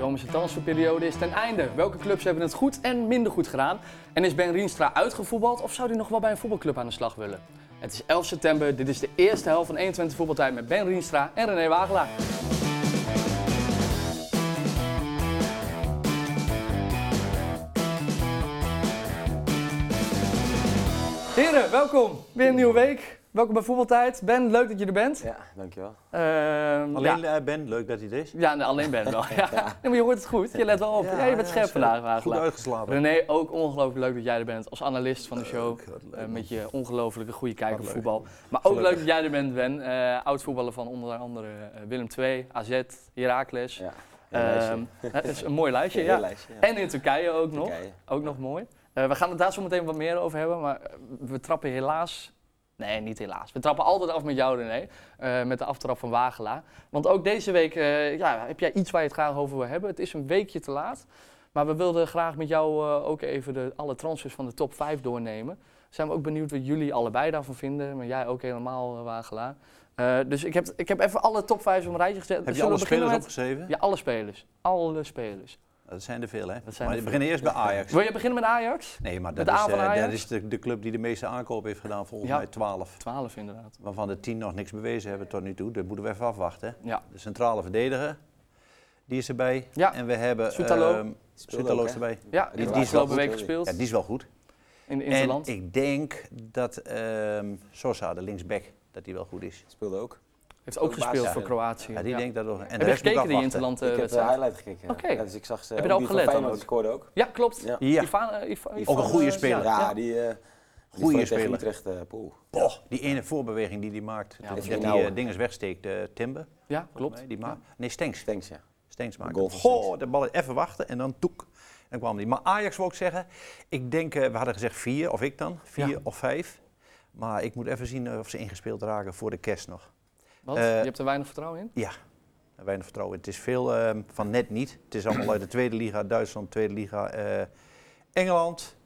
Romische transferperiode is ten einde. Welke clubs hebben het goed en minder goed gedaan? En is Ben Rienstra uitgevoetbald of zou hij nog wel bij een voetbalclub aan de slag willen? Het is 11 september, dit is de eerste helft van 21 voetbaltijd met Ben Rienstra en René Wagelaar. Heren, welkom. Weer een nieuwe week. Welkom bij Voetbaltijd. Ben, leuk dat je er bent. Ja, dankjewel. Ehm, Alleen ja. eh, Ben, leuk dat hij er is. Ja, nee, alleen Ben wel. Ja. Nee, maar je hoort het goed. Je let wel op. Ja, Ja, je bent ja, scherp scherp. vandaag, Goed Wagelaar. uitgeslapen. René, ook ongelooflijk leuk dat jij er bent als analist van de show. Leuk, wat leuk, eh, man. met je ongelooflijke goede kijk Wat op leuk. voetbal. Maar ook Gelukkig. leuk dat jij er bent, Ben. Eh, oud voetballer van onder andere eh, Willem II, AZ, Heracles. Ja, Ehm, het is een mooi lijstje, ja. En in Turkije ook nog. Ook nog mooi. Eh, we gaan het daar zo meteen wat meer over hebben, maar eh, we trappen helaas... Nee, niet helaas. We trappen altijd af met jou, René. eh, met de aftrap van Wagela. Want ook deze week eh, ja, heb jij iets waar je het graag over wil hebben. Het is een weekje te laat. Maar we wilden graag met jou eh, ook even de, alle transfers van de top 5 doornemen. Zijn we ook benieuwd wat jullie allebei daarvan vinden. Maar jij ook helemaal, eh, Wagela. Eh, dus ik heb, ik heb even alle top 5 op een rijtje gezet. Heb je Zullen alle we beginnen spelers met- opgeschreven? Ja, alle spelers. Alle spelers. Dat zijn er veel, hè? Dat zijn maar er we beginnen eerst bij Ajax. Wil je beginnen met Ajax? Nee, maar Met dat de A is, van eh, dat Ajax? is de, de club die de meeste aankopen heeft gedaan, volgens Ja. mij 12. 12 inderdaad. Waarvan de 10 nog niks bewezen hebben tot nu toe. Dat moeten we even afwachten. hè. Ja. De centrale verdediger, die is erbij. Ja. En we hebben Soetalo. ehm, Soetalo is erbij. Ja, Die- die die is is wel afgelopen goed, week hoor. gespeeld Ja, die is wel goed. in in en Interland. ik denk dat ehm Sosa, de linksback, dat die wel goed is. Speelde ook. Heeft ook ook baas, gespeeld ja. voor Kroatië. Ja, die Ja. denkt dat nog. En Heb je gekeken die interland? Interland eh, ik heb de wedstrijd? highlight gekeken. ja. Oké. Ja, dus ik zag ze. Heb je die daarop van gelet dan Feyenoord ook? scoorde ook. Ja, klopt. Ja. Ja. Ivan, eh, Ivan- Ook Ivan, een goede eh, speler. Ja, ja. Ja, die. eh die Goeie vond tegen speler. Utrecht, eh, poeh. Oh, die ene voorbeweging die hij maakt. Ja, dat dat dat is die nou, eh, hè. dinges wegsteekt, eh Timber. volgens Ja, klopt. mij, die maakt. Nee, Stenks. Thanks, ja. Stenks maakt. goal het. van Goh, Stenks. de bal even wachten en dan toek. En dan kwam die. Maar Ajax wil ik zeggen, ik denk, eh, we hadden gezegd vier, of ik dan, vier Ja. of vijf. Maar ik moet even zien eh, of ze ingespeeld raken voor de kerst nog. Want Eh, je hebt er weinig vertrouwen in. Ja, weinig vertrouwen. Het is veel ehm, van net niet. Het is allemaal uit de Tweede Liga, Duitsland, Tweede Liga, eh, Engeland.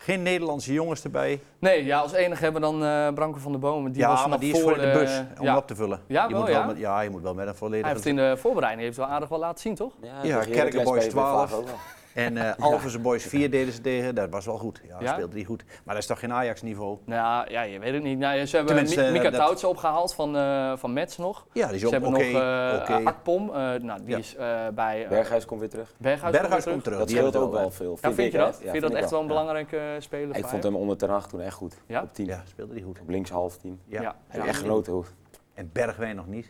Geen Nederlandse jongens erbij. Nee, ja, als enige hebben we dan eh Branko van der Bomen. Die ja, was maar nog die is voor in de bus om ja. op te vullen. Ja, je wel, moet wel ja. Met, ja, je moet wel met een Hij volledige heeft in de voorbereiding heeft wel aardig wel laten zien, toch? tegen Kerken Heracles Boys spelen we 12. vaak ook wel. En eh Alphense Boys 4 deden ze tegen, dat was wel goed. Ja, Ja? speelde die goed. Maar dat is toch geen Ajax-niveau? Nou ja, je weet het niet. Nou, ja, ze hebben Tenminste, Mi- eh, Mika dat- Tauts opgehaald van, eh van Mets nog. Ja, die is Ze ook oké. hebben nog eh oké. Akpom. eh, nou, die Ja. is eh, bij eh, Berghuis komt weer terug. Berghuis. Berghuis terug. komt terug. Dat die scheelt hebben ook we wel veel. Ja, vind je ik, dat? hè. Ja, vind je dat ik echt wel een Ja. belangrijke eh, speler? Ik voor vond Ajax? hem onder Ten Hag toen echt goed. Ja? Op 10. Ja, speelde die goed. Op links half 10. Ja. Heb echt genoten hoor. En Bergwijn nog niet.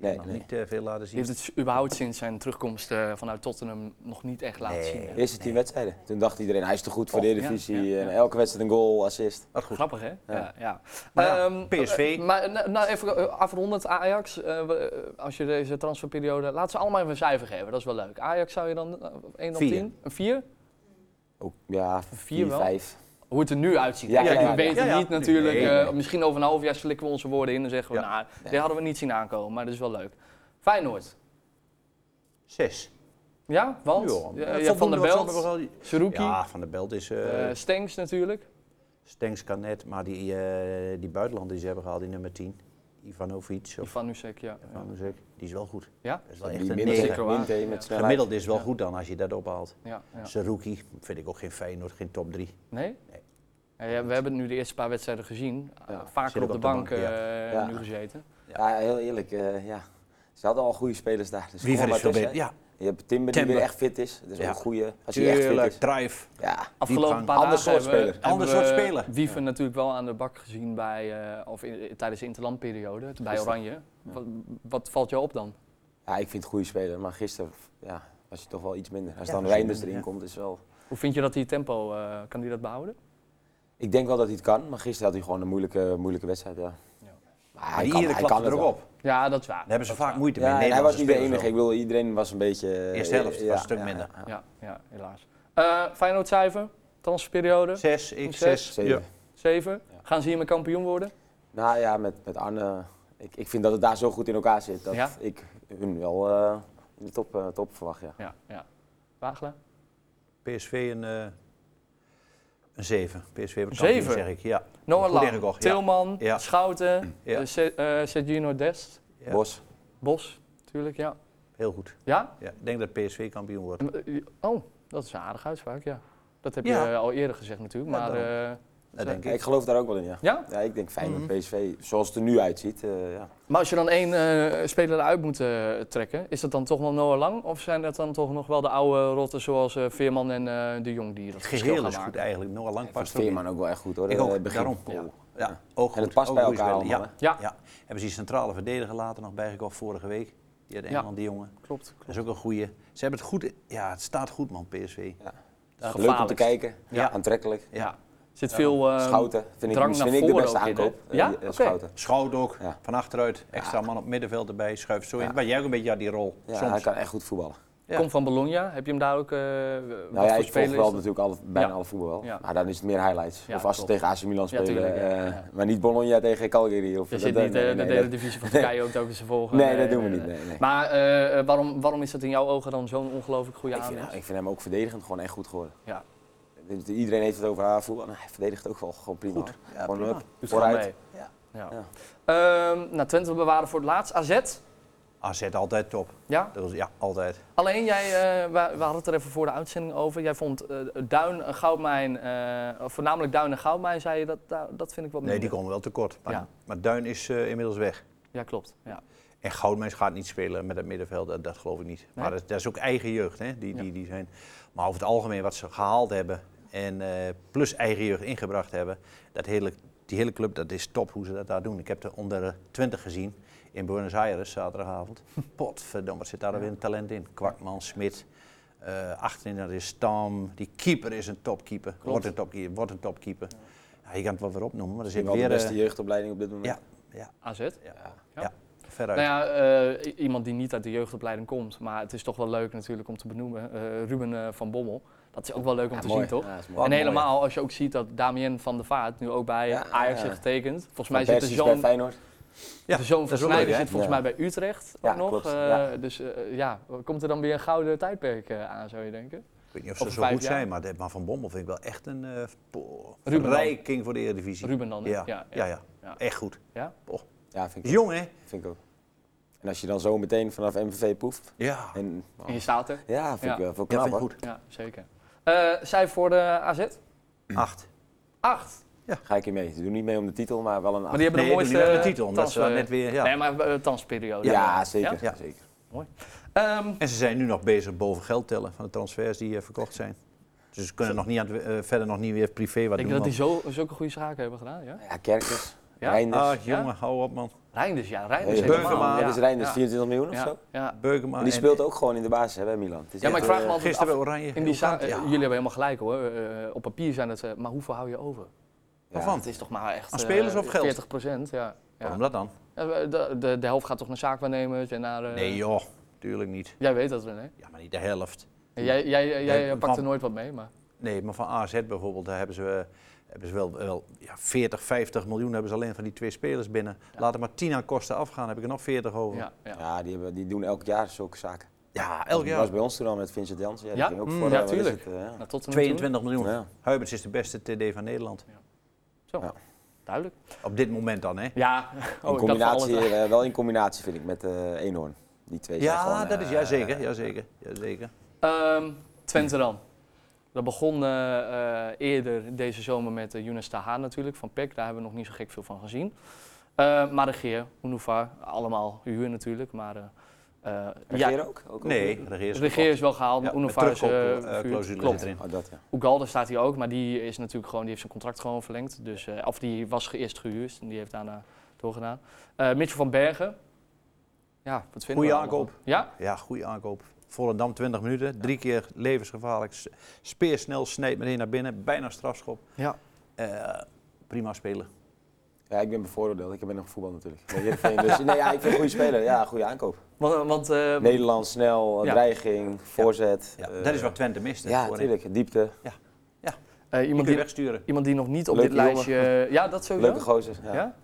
Die Nee, heeft nog nee. niet eh, veel laten Die zien. heeft het überhaupt sinds zijn terugkomst eh, vanuit Tottenham nog niet echt laten Nee. zien. hè? Eerste 10 wedstrijden. Toen dacht iedereen, hij is te goed voor Och, de Eredivisie. ja, ja, ja. En elke wedstrijd een goal, assist. Wat goed. Grappig, hè? Ja. ja, Maar ja, Ehm, PSV. eh, maar eh, nou, even eh, afrondend, Ajax. eh, we, eh, als je deze transferperiode... Laat ze allemaal even een cijfer geven, dat is wel leuk. Ajax zou je dan eh, 1 op Vier. 10? Een 4? Ook, ja, Vier 4, wel. 5. Hoe het er nu uitziet. Ja, Kijk, ja, ja. we weten Ja, ja. niet natuurlijk. Nee, eh, nee. misschien over een half jaar slikken we onze woorden in en zeggen we... Ja. Nou, die Nee. hadden we niet zien aankomen, maar dat is wel leuk. Feyenoord. Zes. Ja, want? Ja, eh, eh, ja, van der voldoende was Belt, wel- Saruki, Ja, Van der Belt is... eh eh, Stenks natuurlijk. Stenks kan net, maar die, eh, die buitenlander die ze hebben gehaald, die nummer 10. Ivanovic of Van Nusek, ja. Van der Zek, die is wel goed. Ja? Dat is wel echt Die een minder negen. zeker. Minte Ja. met snelheid. Gemiddeld is wel Ja. goed dan als je dat ophaalt. ja, ja. Saruki vind ik ook geen Feyenoord, geen top 3. Nee? Nee. Ja, ja, we hebben nu de eerste paar wedstrijden gezien. Eh, Ja, Vaker zitten op we de bank, eh, Ja. nu gezeten. Ja, heel eerlijk. eh, ja. Ze hadden al goede spelers daar. Dus Wiever kom is maar veel tussen, beter. Ja, hè. Je hebt Timber, Timber. die weer echt fit is. Dat is Ja. ook een goede. Als hij echt fit tuurlijk. is. Drive. Ja. Afgelopen Diepgang. paar Ander dagen soort hebben we- speler. hebben Ander soort we speler. Wiever natuurlijk wel aan de bak gezien bij, eh, of in- in- tijdens de interlandperiode bij Gisteren. Oranje. Wat, wat valt jou op dan? ja, ik vind het een goede speler. Maar gisteren ja, was hij toch wel iets minder. Als Ja, dan was hij Reinders minder, erin ja. komt, is wel... Hoe vind je dat hij tempo, eh, kan hij dat behouden? Ik denk wel dat hij het kan. Maar gisteren had hij gewoon een moeilijke, moeilijke wedstrijd. Ja. Ja. Maar hij Maar die kan- Ieren hij klapten kan er het ook wel. op. Daar Ja, dat is waar. hebben Dat ze is vaak waar. moeite mee. Ja, en hij was Nederlandse niet de enige. spelers Ik bedoel, iedereen was een beetje... eh, Eerste helft was ja, een stuk ja, minder. ja. Ja, ja helaas. Eh Feyenoord cijfer, transferperiode, wel. Zes, ik Zes. zes. Zeven. 7. Ja. Gaan ze hiermee kampioen worden? Nou ja, met, met Arne. Ik, ik vind dat het daar zo goed in elkaar zit. Dat Ja? ik hun wel eh, in de top, eh, top verwacht, ja. Ja, ja. Wagelaar? PSV een, eh een zeven. PSV wordt Zeven? kampioen, zeg ik. Ja. Noah Goed Lang, ingekocht, ja. Tilman, Ja. Mm, Schouten, Ja. Dus- eh, Se- eh, Sergino Dest, Ja. Bos. Bos natuurlijk, ja. Heel goed. Ja? Ja, ik denk dat PSV kampioen wordt. Oh, dat is een aardige uitspraak, ja. Dat heb Ja. je eh, al eerder gezegd natuurlijk, Ja, maar... daarom. eh, Dat denk Ik ik. geloof daar ook wel in, ja. ja? Mhm. Ja, ik denk Feyenoord PSV, zoals het er nu uitziet. eh, ja. Maar als je dan één eh, speler eruit moet eh, trekken, is dat dan toch wel Noah Lang? Of zijn dat dan toch nog wel de oude rotten zoals eh, Veerman en eh, de Jong die dat Het verschil gaan geheel is maken? goed eigenlijk. Noah Lang Ik vond past er ook in. Veerman ook wel echt goed hoor. Ik eh, ook, begin. daarom. Ja. Ja, ook En het goed, past ook bij goed elkaar spelen. allemaal, Ja. ja. Hebben ze die centrale verdediger later nog bijgekocht vorige week? Die uit Ja. Engeland, die jongen. Klopt. Dat is ook een goeie. Ze hebben het goed. Ja, het staat goed man, PSV. Leuk om te kijken, Ja. aantrekkelijk. Eh, Ja. Er zit veel eh, Schouten vind ik, drang naar vind ik de voren beste ook in, aankoop. hè? eh, Ja? die, eh, Oké. Schouten. Schout ook, Ja. van achteruit. Extra man op middenveld erbij. Schuift zo Ja. in. Maar jij ook een beetje ja, die rol. Ja, hij soms. kan echt goed voetballen. Ja. eh, komt van Bologna. Heb je hem daar ook... eh Nou ja, voor ik volg speler wel is dat? natuurlijk alle, bijna Ja. alle voetbal wel. Ja. Maar dan is het meer highlights. Ja, of als ze klopt. tegen AC Milan Ja, spelen. tuurlijk, ja, eh, ja. Maar niet Bologna tegen Calgary. Of Je dat- zit dat- niet nee, eh, de nee, derde dat- divisie van Turkije ook telkens te volgen. Nee, dat doen we niet. nee. Nee, nee. Maar eh, eh, waarom, waarom is dat in jouw ogen dan zo'n ongelooflijk goede ik, vind, aanwinst? ik vind hem ook verdedigend gewoon echt goed geworden. Ja. Dus Iedereen heeft het over haar voetbal, maar hij verdedigt ook wel gewoon prima. hoor. Ja, Gewoon prima. hup, Doet gewoon vooruit. mee. Ja. Ja. Ja. Ehm, nou, Twente bewaren voor het laatst. AZ, AZ altijd top. ja. Dat is, ja, altijd. Alleen jij, eh, we, we hadden het er even voor de uitzending over. Jij vond eh, Duin en Goudmijn, eh, voornamelijk Duin en Goudmijn, zei je dat, daar- dat vind ik wat Nee, minder. die komen wel tekort. Maar, Ja. maar Duin is eh, inmiddels weg. Ja, klopt. Ja. En Goudmens gaat niet spelen met het middenveld, dat, dat geloof ik niet. Maar dat, dat is ook eigen jeugd, hè? Die, Ja. die, die zijn. Maar over het algemeen wat ze gehaald hebben en eh, plus eigen jeugd ingebracht hebben, dat hele, die hele club, dat is top hoe ze dat daar doen. Ik heb er onder de 20 gezien in Buenos Aires zaterdagavond. Potverdomme, wat zit daar weer een talent in? Kwakman, Smit, eh, achterin dat is Stam. Die keeper is een topkeeper, wordt een topkeeper, wordt een topkeeper. Ja, je kan het wel weer opnoemen, maar er Ik zit wel de weer... beste eh, jeugdopleiding op dit moment. ja, ja, AZ. ja, Ja. ja. veruit. Nou ja, eh, i- iemand die niet uit de jeugdopleiding komt, maar het is toch wel leuk natuurlijk om te benoemen. eh, Ruben eh, van Bommel, dat is ook wel leuk om Ja, te mooi. zien, toch? Ja, dat is mooi. Wat en mooi. helemaal als je ook ziet dat Damien van der Vaart nu ook bij Ja, Ajax ja. heeft getekend. Volgens Van mij zit de Persie is bij zoon Feyenoord. Ja, de zoon dat van is wel Snijder leuk, hè? zit volgens Ja. mij bij Utrecht Ja, ook nog. klopt, Eh, ja. Dus eh, ja, komt er dan weer een gouden tijdperk eh, aan, zou je denken? Ik weet niet of Over ze zo vijf goed jaar. zijn, maar, de- maar Van Bommel vind ik wel echt een eh po- Ruben dan. verrijking voor de Eredivisie. Ruben dan, hè? Ja. Ja, Ja, ja. ja, Ja. echt goed. Ja? Ja, vind ik, ook. Jong, hè? vind ik ook. En als je dan zo meteen vanaf MVV poeft. Ja, En, oh. En je staat er? Ja, vind Ja. ik wel veel ja knap vind ik hoor. goed. Ja, zeker. Eh zij voor de AZ? Acht. Acht. Ga ik hier mee. Ze doen niet mee om de titel, maar wel een Maar acht. die hebben Nee, de doen die mooiste wel de titel, omdat ze transfer. net weer... Ja. Nee, maar eh, transperiode. Ja, zeker. Ja? zeker. Ja? Ehm, En ze zijn nu nog bezig boven geld tellen van de transfers die eh, verkocht zijn. Dus ze kunnen nog niet aan het, eh, verder nog niet weer privé wat ik denk doen. dat die zo, zulke goede zaken hebben gedaan, ja? Ja, Kerkers, Ja? Reinders. want- Ah, Ja? jongen, hou op man. Reinders, ja. Reinders Hey, helemaal. Beukema, ja. dus Reinders ja. 24 miljoen of Ja, zo. ja. Beukema. Maar die Ah, en- speelt ook gewoon in de basis hè, bij Milan. Het is Ja, maar echt, ik vraag eh, me altijd Gisteren af, bij Oranje. In die za- eh, Heel kant, jullie hebben helemaal gelijk hoor. Eh, op papier zijn het, eh, maar hoeveel hou je over? ja. van? Het is toch maar echt Aan eh, spelers of geld? 40 procent, ja. ja. Waarom dat dan? Ja, De, de, de helft gaat toch naar zaakwaarnemers en naar... eh, Nee joh, tuurlijk niet. Jij weet dat, René. Ja, maar niet de helft. Jij, jij, jij, eh, Nee, pakt er van- nooit wat mee, maar... Nee, maar van AZ bijvoorbeeld, daar hebben ze, eh, hebben ze wel, wel ja, 40, 50 miljoen hebben ze alleen van die twee spelers binnen. Ja. Laat er maar 10 aan kosten afgaan, heb ik er nog 40 over. Ja, Ja, ja. Ja, die, hebben, die doen elk jaar zulke zaken. elk Dat was jaar. bij ons toen al met Vincent Jansen. Ja, die Ja? ging ook Mm, voor, ja, Oh, eh, wat is tuurlijk. het, eh, ja. Nou, tot en met toen. 22 miljoen. Ja. Huibers is de beste TD van Nederland. Duidelijk. Op dit moment dan, hè? Ja, in ik dacht al combinatie, het- eh, wel in combinatie vind ik met eh Eenhoorn. Die twee zijn Ja, gewoon, dat eh, is, jazeker, jazeker, jazeker. Ehm, Twente dan. Dat begon eh, eh, eerder deze zomer met eh, Younes Taha natuurlijk, van PEC. Daar hebben we nog niet zo gek veel van gezien. Eh maar de Geer, Unova, allemaal huur natuurlijk. maar... eh, eh, Regeer ja, ook? eh, ook Nee, de de Geer is wel gehaald, maar Ja, met Unova is eh, terugkoopclausule verhuurd. zit Klopt. erin. Oh, dat ja. Ugalde staat hier ook, maar die is natuurlijk gewoon, die heeft zijn contract gewoon verlengd. Dus, eh, of die was ge- eerst gehuurd en die heeft daarna doorgedaan. Eh Mitchell van Bergen. Ja, wat vinden Goeie we allemaal? aankoop. Ja? Ja, goede aankoop. Volendam 20 minuten, drie keer levensgevaarlijk. S- Speersnel, snijdt meteen naar binnen, bijna strafschop. Ja. Eh, prima spelen. ja, ik ben bevooroordeeld. Ik ben nog voetbal natuurlijk. Bij Heerenveen, dus, nee, ja, ik vind een goede speler. Ja, goede aankoop. Want, want, eh, Nederlands, snel, eh, Ja. dreiging, voorzet. Ja, eh, dat is wat Twente miste. Ja, voorheen. natuurlijk. Diepte, eh, iemand, Die kun je die, wegsturen. iemand die nog niet op Leuke dit lijstje... eh, ja, dat sowieso. leuke gozer. Ja. ja?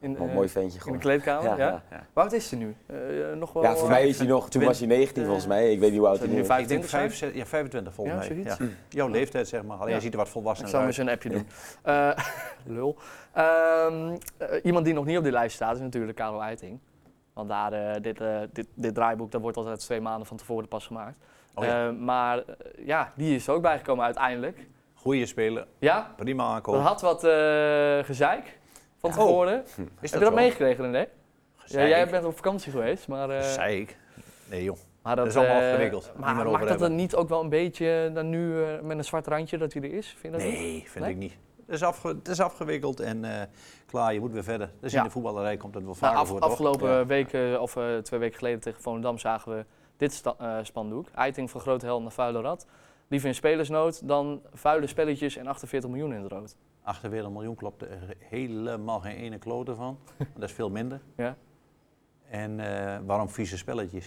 In, Mo- eh, Mooi ventje in de gewoon. kleedkamer, ja. Ja, ja. Hoe oud is ze nu? Eh, nog wel... Ja, voor mij is hij nog, toen Twin- was hij 19 volgens mij. Ik weet niet hoe oud hij Zijn nu nu is. vijf- Ik denk 25 zijn? 25, ja, 25 volgens Ja, mij. zoiets. Ja. Jouw leeftijd zeg maar. Alleen Ja. je ziet er wat Ik volwassener zal hem eens uit. een appje doen. Eh, lul. Ehm, eh, iemand die nog niet op die lijst staat is natuurlijk Karel Eiting. Want Want daar, eh, dit, eh, dit, dit draaiboek dat wordt altijd twee maanden van tevoren pas gemaakt. Oh ja. Eh, maar eh, ja, die is er ook bijgekomen uiteindelijk. Goeie speler, Ja, prima aankoop. dat had wat eh, gezeik van Ja. tevoren. Oh, Is Heb je dat zo? meegekregen, René? Ja, Gezeik. jij bent op vakantie geweest, maar... eh, Gezeik? Nee joh, maar dat is allemaal eh, ingewikkeld. Niet Maar meer maakt over dat dan hebben. niet ook wel een beetje eh, dan nu eh, met een zwart randje dat hij er is? Vind je dat niet? Nee, vind Nee? ik niet. Het is, afge- het is afgewikkeld en eh, klaar, je moet weer verder. Dus Ja. in de voetballerij komt dat wel Nou, vaker af- voor, toch? afgelopen Ja. week eh, of eh, twee weken geleden tegen Volendam zagen we dit sta- eh, spandoek. Eiting van grote hel naar vuile rat. Liever in spelersnood dan vuile spelletjes en 48 miljoen in het rood. 48 miljoen klopt er helemaal geen ene klote van. dat is veel minder. Ja. En eh, waarom vieze spelletjes?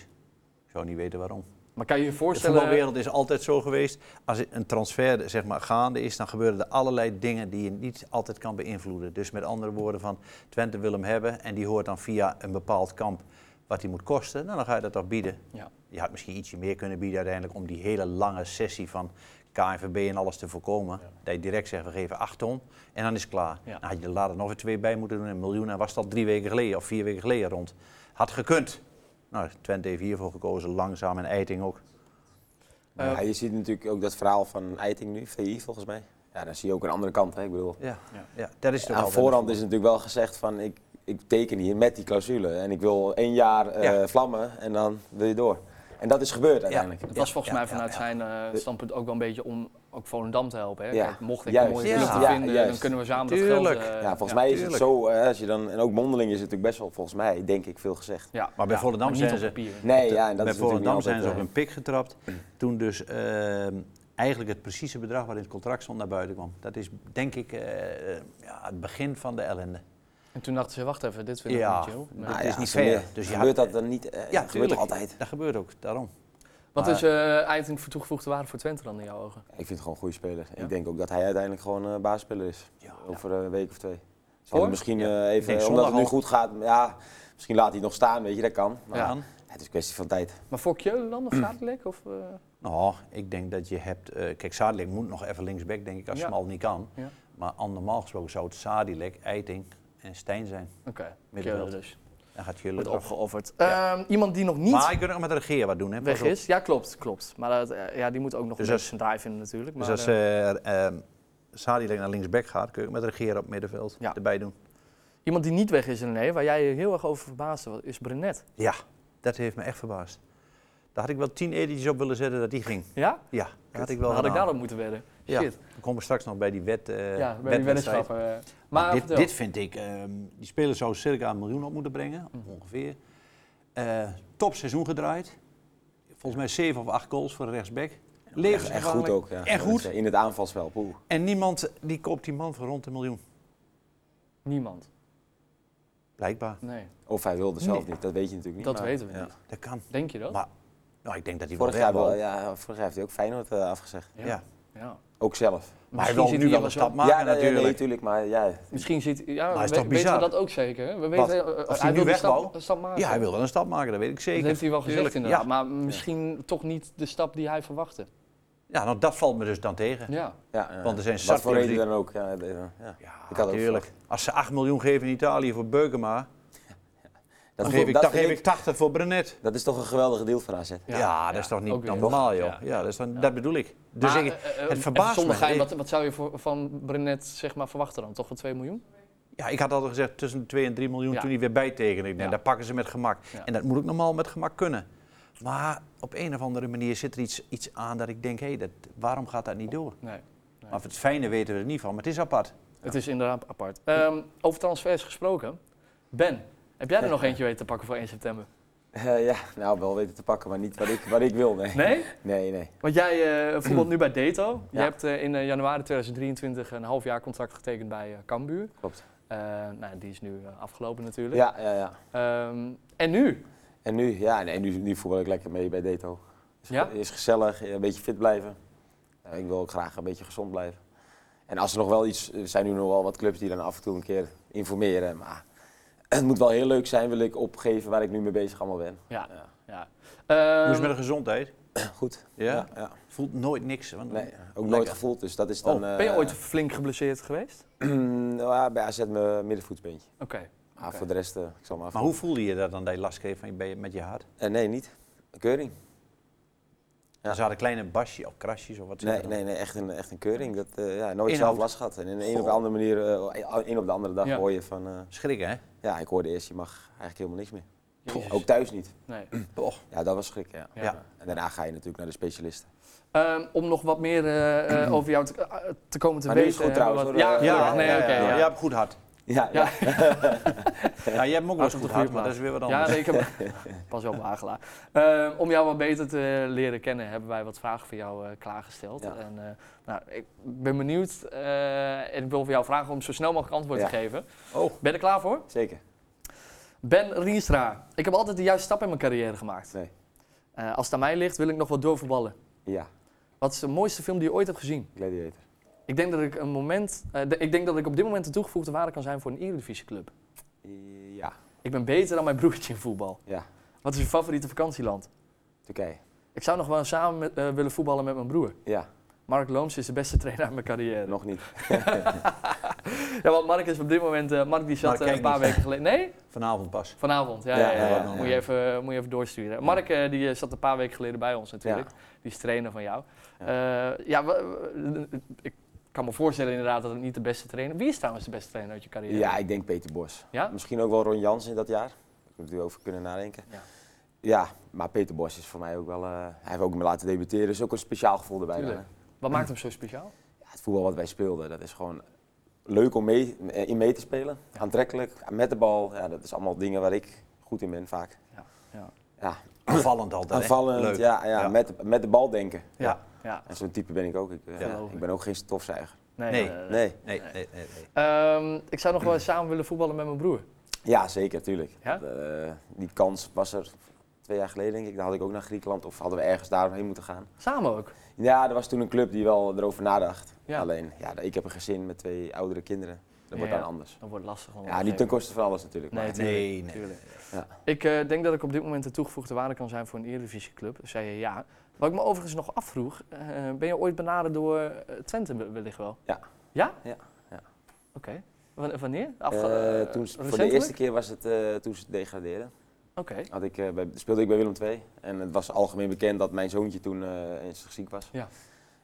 Ik zou niet weten waarom. Maar kan je je De voorstellen... voetbalwereld is altijd zo geweest. Als een transfer zeg maar, gaande is, dan gebeuren er allerlei dingen die je niet altijd kan beïnvloeden. Dus met andere woorden, van Twente wil hem hebben en die hoort dan via een bepaald kamp wat hij moet kosten. Nou, dan ga je dat toch bieden. Ja. Je had misschien ietsje meer kunnen bieden uiteindelijk om die hele lange sessie van KNVB en alles te voorkomen. Dat je direct zegt, we geven 8 ton en dan is het klaar. Ja. Dan had je er later nog weer twee bij moeten doen, een miljoen. En was dat drie weken geleden of vier weken geleden rond. Had gekund. Nou, Twente heeft hiervoor gekozen, langzaam en Eiting ook. Eh, ja, je ziet natuurlijk ook dat verhaal van Eiting nu, VI volgens mij. Ja, dan zie je ook een andere kant. Hè? Ik bedoel, Ja, Ja. ja. dat is toch aan altijd voorhand een is natuurlijk wel gezegd van ik, ik teken hier met die clausule. En ik wil één jaar eh, Ja. vlammen en dan wil je door. En dat is gebeurd uiteindelijk. Het was volgens ja, mij ja, vanuit ja. zijn eh, standpunt ook wel een beetje om ook Volendam te helpen. Hè? Ja. Kijk, mocht ik Juist. een mooie Ja. club te Ja, vinden, dan juist. kunnen we samen dat Tuurlijk. geld... eh, Ja, volgens mij is het tuurlijk. zo, hè, als je dan, en ook mondeling is het natuurlijk best wel, volgens mij, denk ik, veel gezegd. Ja. Maar bij Volendam maar zijn niet op ze- papier. Nee, voordeel. ja, en dat Bij is natuurlijk Volendam niet zijn ze op altijd, eh, een pik getrapt. Toen dus ehm, eigenlijk het precieze bedrag wat in het contract stond naar buiten kwam. Dat is denk ik eh, ja, het begin van de ellende. En toen dachten ze, wacht even, dit vind ik Ja. niet chill. Nou, eh, Nee. het ja, is niet gebeurt- fair. Dus je gebeurt had- dat dan niet? eh, ja, dat gebeurt tuurlijk. toch altijd? Dat gebeurt ook, daarom. Wat maar- is eh Eiting voor toegevoegde waarde voor Twente dan in jouw ogen? Ik vind het gewoon een goede speler. Ja. Ik denk ook dat hij uiteindelijk gewoon eh basisspeler is. Ja. Over een week of twee. Hoor? Zullen we misschien Ja. eh, Ik denk even, omdat zondag het nu al. goed gaat, ja, misschien laat hij het nog staan, weet je, dat kan. Maar Ja. Dan- het is een kwestie van tijd. Maar voor Keulen dan of Zadelijk? Of, eh, Nou, ik denk dat je hebt. eh, kijk, Sadilek moet nog even linksback, denk ik, als Ja. Smal niet kan. Ja. Maar an- normaal gesproken zou het Sadilek, Eiting en Stijn zijn. Oké, Keulen Middenveld. dus. Dan gaat jullie Wordt op. opgeofferd. Ja. Ehm, iemand die nog niet Maar je kunt ook met de regeer wat doen, hè? weg Pas op. is. Ja, klopt, klopt. Maar dat, eh, ja, die moet ook nog Dus een als- beetje zijn draai vinden natuurlijk. Maar, Dus als eh, eh ehm Sadilek naar linksback gaat, kun je ook met de regeer op middenveld Ja. erbij doen. iemand die niet weg is, nee, waar jij je heel erg over verbaasde, is Brenet. Ja, dat heeft me echt verbaasd. Daar had ik wel tien editjes op willen zetten dat die ging. Ja? Ja, dat had Dan ik wel Nou, had ik gedaan. daarop moeten wedden. Ja. Shit. We komen straks nog bij die wet. eh, Ja, bij die wedstrijd. weddenschappen. eh. Maar dit, vertel. dit vind ik, ehm, die speler zou circa een miljoen op moeten brengen, Mhm. ongeveer. Eh top seizoen gedraaid. Volgens mij zeven of acht goals voor de rechtsback. Echt, echt goed Levensgevaarlijk. ook. Ja. eh, En goed. In het aanvalsspel. Poeh. En niemand die koopt die man voor rond een miljoen. Niemand. Blijkbaar. Nee, Of hij wilde zelf Nee. niet, dat weet je natuurlijk niet. dat maar- weten we ja. niet. Dat kan. Denk je dat? Maar nou, ik denk dat hij Vorig wel jaar, weg wil. wel, ja, vorig jaar heeft hij ook Feyenoord eh, afgezegd. Ja. Ja. Ook zelf. Maar hij Misschien wil zit nu wel wel een zo- stap maken ja, nee, natuurlijk. Nee, natuurlijk, maar ja. Misschien ziet ja, Maar is we- toch weten we bizar? dat ook zeker. Hè? We Wat? weten, eh, Of eh, hij nu wil die weg stap, wou? stap maken. ja, hij wil wel een stap maken, dat weet ik zeker. Dat heeft hij wel gezegd Tuurlijk, inderdaad. Ja. Maar misschien toch niet de stap die hij verwachtte. ja, nou dat valt me dus dan tegen. Ja. ja ja. eh, Want er zijn zat Wat voor clubs reden die- dan ook. Ja, eh, ja, ja. Ja, Ik had ook tuurlijk. Als ze 8 miljoen geven in Italië voor Beukema, dan is- geef ik, dat dan vind geef ik 80 voor Brenet. Dat is toch een geweldige deal van AZ. Ja, dat is toch ook niet weer. normaal, joh. Ja. Ja, dat, is dan, dat bedoel ik. Dus Maar, ik, eh, eh, even verbaast zonder me. gein, Ik- wat, wat zou je voor, van Brenet zeg maar, verwachten dan? Toch wel 2 miljoen? ja, ik had altijd gezegd tussen de 2 en 3 miljoen Ja. toen hij weer bijtekende. Ik denk, Ja. dat pakken ze met gemak. Ja. En dat moet ook normaal met gemak kunnen. Maar op een of andere manier zit er iets, iets aan dat ik denk, hé, dat waarom gaat dat niet door? Nee. Maar het fijne weten we er niet van, maar het is apart. Het is inderdaad apart. Ehm, over transfers gesproken. Ben, heb jij er nog eentje weten te pakken voor 1 september? Eh, ja, nou wel weten te pakken, maar niet wat ik, wat ik wil. Nee, Nee? nee. nee. Want jij eh, bijvoorbeeld nu bij Dato. Je Ja. hebt eh, in eh, januari 2023 een half jaar contract getekend bij eh, Cambuur. Klopt. Eh, nou, die is nu eh, afgelopen natuurlijk. Ja, ja, ja. Ehm, en nu? En nu, ja, nee, nu, nu voetbal ik lekker mee bij Deto. Is, Ja? is gezellig, een beetje fit blijven. Eh, ik wil ook graag een beetje gezond blijven. En als er nog wel iets, er zijn nu nog wel wat clubs die dan af en toe een keer informeren. Maar het moet wel heel leuk zijn, wil ik opgeven waar ik nu mee bezig allemaal ben. Ja. Ja. ja. Hoe is Ehm, het met de gezondheid? Goed. Ja? Ja, ja. Voelt nooit niks. Want Nee, ook nooit Lekker. gevoeld, dus dat is dan... Oh, Ben je eh, ooit flink geblesseerd geweest? nou ja, bij AZ mijn middenvoetsbeentje. Oké. Maar Maar voor de rest, eh, ik zal maar Maar hoe voelde je dat dan dat je last kreeg van je, been- met je hart? Eh, nee, niet. Keuring. Ja. Dus Ze hadden kleine basjes of krasjes of wat ze Nee, hadden. nee, nee echt, een, echt een keuring. Dat, eh, ja, nooit Inhoud. zelf last gehad. En in de een op de andere manier, eh een op de andere dag Ja. hoor je van... eh, Schrikken, hè? ja, ik hoorde eerst, je mag eigenlijk helemaal niks meer. Jezus. Ook thuis niet. Nee. Ja, dat was schrik, oh. ja. Ja. Ja. En daarna ga je natuurlijk naar de specialisten. Ehm, om nog wat meer eh, eh, over jou te, eh, te komen te Maar nu weten. is het goed hebben we trouwens, wat- hoor. Ja, Ja, gelukkig. nee, ja, oké. ja. ja. Jij hebt goed hart. Ja, ja. Ja. Ja, jij hebt ook Hart op de wel eens goed hart, goede maar dat is weer wat Ja, anders. nee, ik heb... Pas op, Agela. Eh, om jou wat beter te leren kennen, hebben wij wat vragen voor jou eh, klaargesteld. Ja. En, eh, nou, ik ben benieuwd eh, en ik wil voor jou vragen om zo snel mogelijk antwoord Ja. te geven. Oh, Ben je er klaar voor? zeker. Ben Riestra, ik heb altijd de juiste stap in mijn carrière gemaakt. Nee. Eh, als het aan mij ligt, wil ik nog wat doorvoetballen. Ja, Wat is de mooiste film die je ooit hebt gezien? gladiator. Ik denk dat ik, een moment, eh, de- ik, denk dat ik op dit moment de toegevoegde waarde kan zijn voor een Eredivisie club. Ja, Ik ben beter dan mijn broertje in voetbal. ja. Wat is je favoriete vakantieland? Turkije. Ik zou nog wel samen met, eh, willen voetballen met mijn broer. Ja, Eh, Mark Looms is de beste trainer uit mijn carrière. nog niet. Ja, want Mark is op dit moment... eh, Mark die zat Mark eh, een kijkt paar niet. weken geleden... Nee? vanavond pas. Vanavond. Ja, Ja, ja, ja, ja. ja, ja. Moet, je even, eh, moet je even doorsturen. Mark eh, die eh, zat een paar weken geleden bij ons natuurlijk. Die is trainer van jou. Ja. Eh, ja, wa- wa- ik kan me voorstellen inderdaad dat het niet de beste trainer... Wie is trouwens de beste trainer uit je carrière? Ja, ik denk Peter Bos. Ja? Misschien ook wel Ron Jans in dat jaar. Daar heb ik over kunnen nadenken. Ja. Ja. maar Peter Bos is voor mij ook wel... eh, hij heeft ook me laten debuteren. is ook een speciaal gevoel erbij. dan, Tuurlijk. hè. Wat maakt hem zo speciaal? Ja, het voetbal wat wij speelden, dat is gewoon leuk om mee, eh, in mee te spelen. Aantrekkelijk, met de bal. Ja, dat is allemaal dingen waar ik goed in ben vaak. Ja, ja. Ja, Aanvallend altijd. hè? aanvallend, Leuk. ja, ja, Ja. Met, met de bal denken. Ja. ja. En zo'n type ben ik ook. Ik, eh, Ja. ik ben ook geen stofzuiger. Nee. Nee. eh, Nee. Nee, nee, nee. nee. Ehm, ik zou nog wel eens samen willen voetballen met mijn broer. Ja, zeker, tuurlijk. Ja? Dat, eh, die kans was er twee jaar geleden, denk ik. Dan had ik ook naar Griekenland of hadden we ergens daarheen moeten gaan. Samen ook. Ja, er was toen een club die wel erover nadacht. Ja. Alleen, ja, ik heb een gezin met twee oudere kinderen. Dat Ja, wordt ja. dan anders. Dat wordt lastig. om Ja, te niet ten geven. koste van alles natuurlijk. Nee, maar- tuurlijk, Nee, nee. tuurlijk. Ja. Ik eh, denk dat ik op dit moment de toegevoegde waarde kan zijn voor een Eredivisieclub. Dus zei je ja. Wat ik me overigens nog afvroeg, eh, ben je ooit benaderd door eh, Twente we- wellicht wel? Ja. Ja? Ja, ja. Oké. Wa- Wanneer? Eh, Afge- eh, toen, ze- voor de recentelijk? eerste keer was het eh, toen ze degradeerden. Oké. Had ik, eh, bij, speelde ik bij Willem II. En het was algemeen bekend dat mijn zoontje toen eh, ernstig ziek was. Ja.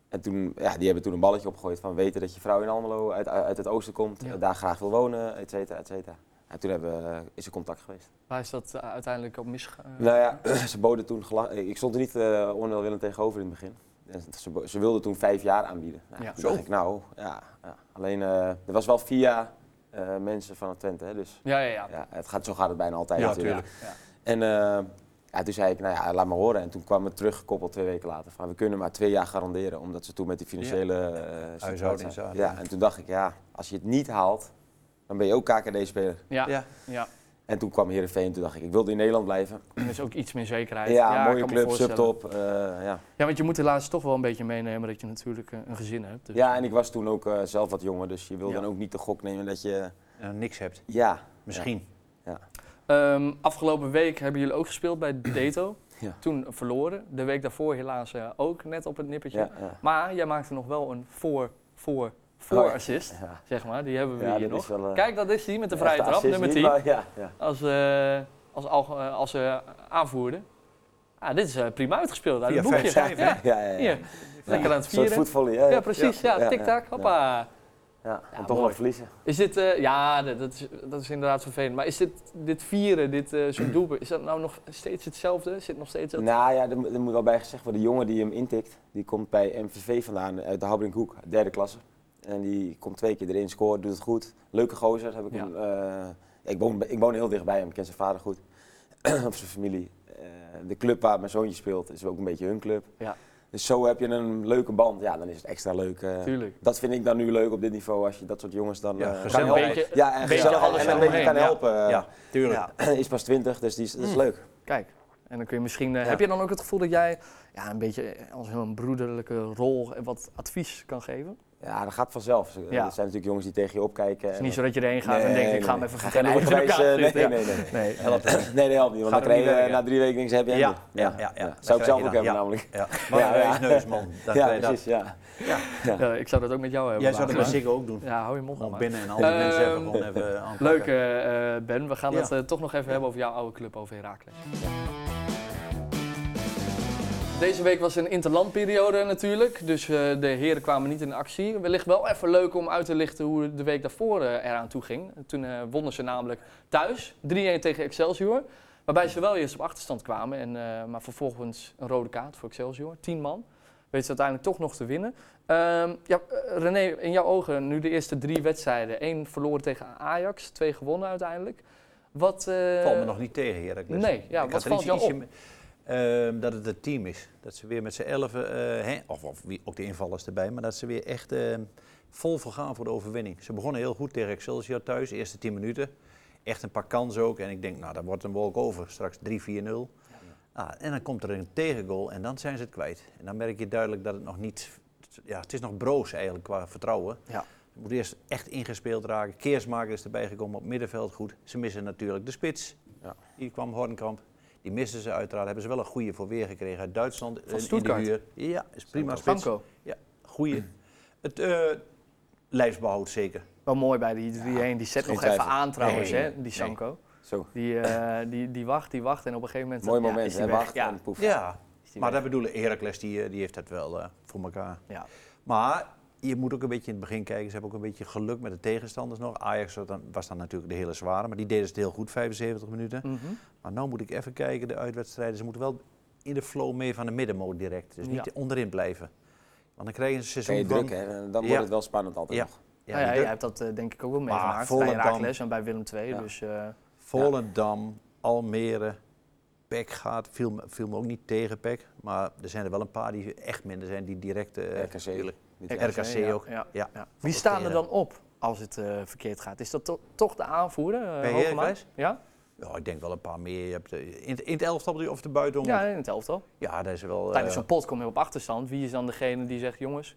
En toen, ja, die hebben toen een balletje opgegooid van weten dat je vrouw in Almelo uit, uit het oosten komt, Ja. eh, daar graag wil wonen, et cetera, et cetera. En toen hebben, we, eh, is er contact geweest. Waar is dat eh, uiteindelijk op misgegaan? Nou ja, ze boden toen, gela- ik stond er niet eh onwelwillend tegenover in het begin. En ze, bo- ze wilden toen vijf jaar aanbieden. Nou, Ja. toen Zo. dacht ik, nou, ja, ja. Alleen, eh, er was wel via eh, mensen van het Twente, hè, dus Ja, ja, ja. ja, het gaat, zo gaat het bijna altijd Ja, natuurlijk. tuurlijk. En eh, ja, toen zei ik, nou ja, laat me horen. En toen kwam het teruggekoppeld twee weken later. Van, we kunnen maar twee jaar garanderen, omdat ze toen met die financiële eh, situatie Huishouding zaten. zaten. Ja, en toen dacht ik, ja, als je het niet haalt, dan ben je ook KKD-speler. Ja, ja. Ja. En toen kwam Heerenveen, toen dacht ik, ik wilde in Nederland blijven. Er is ook iets meer zekerheid. ja, ik mooie kan me club, voorstellen. subtop. eh, ja. Ja, want je moet helaas toch wel een beetje meenemen dat je natuurlijk eh, een gezin hebt. Dus. ja, en ik was toen ook eh, zelf wat jonger, dus je wil Ja. dan ook niet de gok nemen dat je... Nou, niks hebt. Ja, Misschien. Ehm, afgelopen week hebben jullie ook gespeeld bij Dato. Ja. Toen verloren. De week daarvoor helaas eh, ook net op het nippertje. ja, ja. Maar jij maakte nog wel een voor, voor, voor Oh ja. assist. ja. Zeg maar, die hebben we Ja, hier dat is nog. wel, eh, Kijk, dat is die met de Echte vrije trap, assist nummer niet, 10. maar Ja, ja. Als, eh als, alge- eh, als eh, aanvoerder. Ah, dit is eh, prima uitgespeeld uit Via het boekje. 5-5, hè? ja, Ja, ja, ja. hier. Lekker aan het Een soort vieren. voetvolley, hè? Ja, precies. Ja, Ja, ja, tik-tak. ja. Hoppa. Ja, Ja, en toch mooi. nog verliezen. Is dit, eh, ja, dat, dat is, dat is inderdaad vervelend. Maar is dit, dit vieren, dit eh zo'n doelpunt, is dat nou nog steeds hetzelfde? Zit nog steeds dat? Nou ja, er, moet- er moet wel bij gezegd worden, de jongen die hem intikt, die komt bij MVV vandaan, uit de Habringhoek, derde klasse. En die komt twee keer erin, scoort, doet het goed. Leuke gozer, heb ik, Ja. hem, eh, ik, woon, bij- ik woon heel dichtbij hem, ik ken zijn vader goed, of zijn familie. Eh, de club waar mijn zoontje speelt is ook een beetje hun club. Ja. Dus zo heb je een leuke band, ja, dan is het extra leuk. eh. Tuurlijk. dat vind ik dan nu leuk op dit niveau, als je dat soort jongens dan Ja, eh, gezellig. kan Een helpen. beetje, Ja, en beetje gezellig alles en een beetje eromheen, kan ja. helpen. eh. ja, tuurlijk. Ja, is pas twintig, dus die is, dat is leuk. Kijk, en dan kun je misschien, eh, Ja. heb je dan ook het gevoel dat jij ja, een beetje eh, als een broederlijke rol en wat eh, advies kan geven? Ja, dat gaat vanzelf. Er zijn natuurlijk jongens die tegen je opkijken. Het en is niet zo dat- dat je erheen gaat en Nee, denkt, ik nee, ga hem nee. even Ga vertellen geen hoe het in elkaar eigenwijs, zit. eh, Ja. nee, nee, nee. nee. Helpt het. Nee, dat helpt niet, want Gaat dan krijg ook niet je werken. na drie weken niks heb je Ja, hem ja, niet. ja. ja, ja. Zou ik zelf ook hebben ja. namelijk. Ja, maar Ja, ja. een neusman. Dat ja, kan je dat. precies, ja. Ja, eh, ik zou dat ook met jou hebben. Jij zou dat met laten, Siggo ook doen. maar- Ja, hou je mond nou Gewoon maar. binnen en andere mensen even Ehm, gewoon even aanpakken. Leuk eh, eh, Ben, we gaan Ja. het eh, toch nog even hebben over jouw oude club, over Heracles. Deze week was een interlandperiode natuurlijk, dus eh, de heren kwamen niet in actie. Wellicht wel even leuk om uit te lichten hoe de week daarvoor eh, eraan toe ging. Toen eh, wonnen ze namelijk thuis, 3-1 tegen Excelsior. Waarbij ze wel eerst op achterstand kwamen, en, eh, maar vervolgens een rode kaart voor Excelsior, 10 man. Weet ze uiteindelijk toch nog te winnen. Ehm, ja, eh, René, in jouw ogen nu de eerste drie wedstrijden. Eén verloren tegen Ajax, twee gewonnen uiteindelijk. Wat... eh, valt me nog niet tegen, Heracles. nee, ja, wat Ik had er valt iets- jou ietsje me- ehm, dat het het team is. Dat ze weer met z'n elfen, eh, hè, of, of wie, ook de invallers erbij, maar dat ze weer echt ehm, vol voor gaan voor de overwinning. Ze begonnen heel goed tegen Excelsior thuis, eerste 10 minuten. Echt een paar kansen ook. En ik denk, nou, dat wordt een walkover. Straks 3-4-0. Ah, en dan komt er een tegengoal en dan zijn ze het kwijt. En dan merk je duidelijk dat het nog niet... Ja, het is nog broos eigenlijk qua vertrouwen. Ja. Het moet eerst echt ingespeeld raken. Keersmaker is erbij gekomen op middenveld goed. Ze missen natuurlijk de spits. Ja. Die kwam Hornkamp. Die misten ze uiteraard. Hebben ze wel een goede voor weer gekregen uit Duitsland. eh, in de Stuttgart. huur. Ja, is prima spits. Franco, Goeie. Het eh lijfsbehoud zeker. wel mooi bij die 3-1. Die zet geen nog even twijfel. aan trouwens, Nee, hè, die Sanko. Zo, Die, eh, die, die wacht, die wacht en op een gegeven moment... eh, mooi ja, moment. is die hè, weg. wacht Ja, en poef. Ja, is die maar weg. dat bedoelen Heracles, die, eh, die heeft dat wel eh, voor elkaar. Ja. Maar je moet ook een beetje in het begin kijken. Ze hebben ook een beetje geluk met de tegenstanders nog. Ajax was dan, was dan natuurlijk de hele zware, maar die deden het heel goed, 75 minuten. Mhm. Maar nu moet ik even kijken, de uitwedstrijden. Ze moeten wel in de flow mee van de middenmoot direct. Dus niet Ja. onderin blijven. Want dan krijg je een Kan seizoen je van... druk, hè? Dan wordt Ja. het wel spannend altijd Ja. nog. Ja, Nou ja, die jij druk. hebt dat eh, denk ik ook wel Maar meegemaakt bij Volendam- Heracles en bij Willem II. Ja. Dus, eh, Volendam, Almere, Peck gaat. Viel, me- viel me ook niet tegen Peck. Maar er zijn er wel een paar die echt minder zijn. Die direct... eh, RKC. natuurlijk- Niet RKC, echt. RKC ja, ook. ja. Ja. Wie staan er dan op als het eh, verkeerd gaat? Is dat to- toch de aanvoerder? eh, Bij Hoogema? Heracles? Ja? Ja, ik denk wel een paar meer. Je hebt, eh, in, het- in het elftal of de buiten. ja, in het elftal. ja, daar is wel... eh, Tijdens zo'n pot kom je op achterstand. Wie is dan degene die zegt, jongens,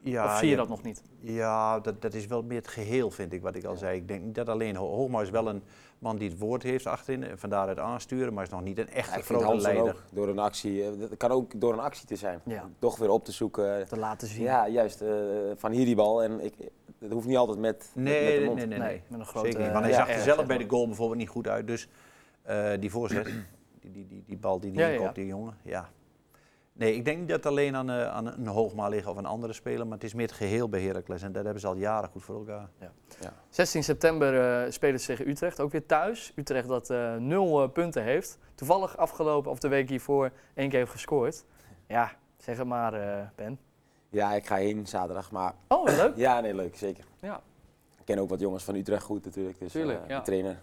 ja, of zie je hebt- dat nog niet? Ja, dat, dat is wel meer het geheel, vind ik, wat ik al zei. Ik denk niet dat alleen Ho- Hoogma is wel een man die het woord heeft achterin. en Vandaar het aansturen, maar is nog niet een Ja, echte ik vind grote Hansen leider. ook door een actie. eh, Dat kan ook door een actie te zijn. Ja. Toch weer op te zoeken. Te laten zien. Ja, juist. eh, van hier die bal. En ik, dat hoeft niet altijd met, met, met Nee, de nee, mond. nee, nee, nee. met een grote... Zeker niet. Want hij ja, zag eh, er zeg zelf bij maar. de goal bijvoorbeeld niet goed uit. Dus eh, die voorzet, die, die, die, die bal die die Ja, ja, inkopt, ja. die jongen. Ja. Nee, ik denk niet dat het alleen aan, eh, aan een Hoogma liggen of een andere speler. Maar het is meer het geheel bij Heracles. En dat hebben ze al jaren goed voor elkaar. 16 september eh, spelen ze tegen Utrecht, ook weer thuis. Utrecht dat eh, nul eh, punten heeft. Toevallig afgelopen, of de week hiervoor, één keer heeft gescoord. Ja, zeg het maar, eh, Ben. Ja, ik ga heen zaterdag. Maar Oh, wat leuk. ja, nee, leuk. Zeker. Ja. Ik ken ook wat jongens van Utrecht goed natuurlijk. Dus Tuurlijk, eh, ja. de trainer.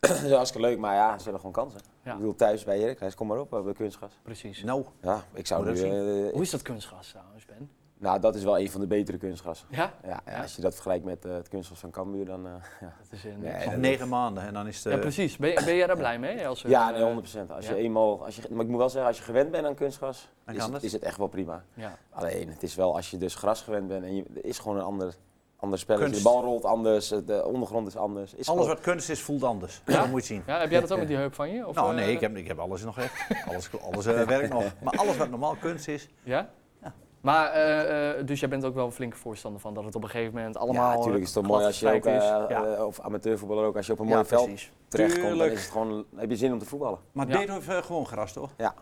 Dat is hartstikke leuk. Maar ja, ze hebben gewoon kansen. Ja. Ik bedoel, thuis bij Heracles. Kom maar op, eh, bij Kunstgas. Precies. Nou, Ja, ik zou Moet nu... dat eh, Hoe is dat kunstgas trouwens, Ben? nou, dat is wel een van de betere kunstgassen. Ja? Ja, ja, Ja. als je dat vergelijkt met eh, het kunstgas van Cambuur, dan... eh, Dat is een... Nee, nog dat is- negen maanden en dan is de... ja, precies. Ben, ben jij daar blij mee? Als, eh, eh, Ja, nee, 100%. Als je ja. eenmaal, als je, maar ik moet wel zeggen, als je gewend bent aan kunstgras, Dan is kan het, het. is het echt wel prima. Ja. Alleen, het is wel als je dus gras gewend bent en je, er is gewoon een ander, ander spelletje. Kunst. De bal rolt anders, de ondergrond is anders. Is Alles gewoon- wat kunst is, voelt anders. Ja? Dat moet je zien. ja, heb jij dat ook met die heup van je? Of, nou, eh, nee, ik heb, ik heb alles nog echt. Alles, alles eh, werkt nog. Maar alles wat normaal kunst is, Ja? Maar, eh, eh, dus jij bent ook wel een flinke voorstander van dat het op een gegeven moment allemaal... ja, natuurlijk is het toch mooi als je ook, gladgestrekt is. eh, ja. eh, of amateurvoetballer ook, als je op een mooi veld precies. terechtkomt, dan Tuurlijk. is het gewoon, heb je zin om te voetballen. Maar Ja. dit heeft eh, gewoon gras, toch? Ja,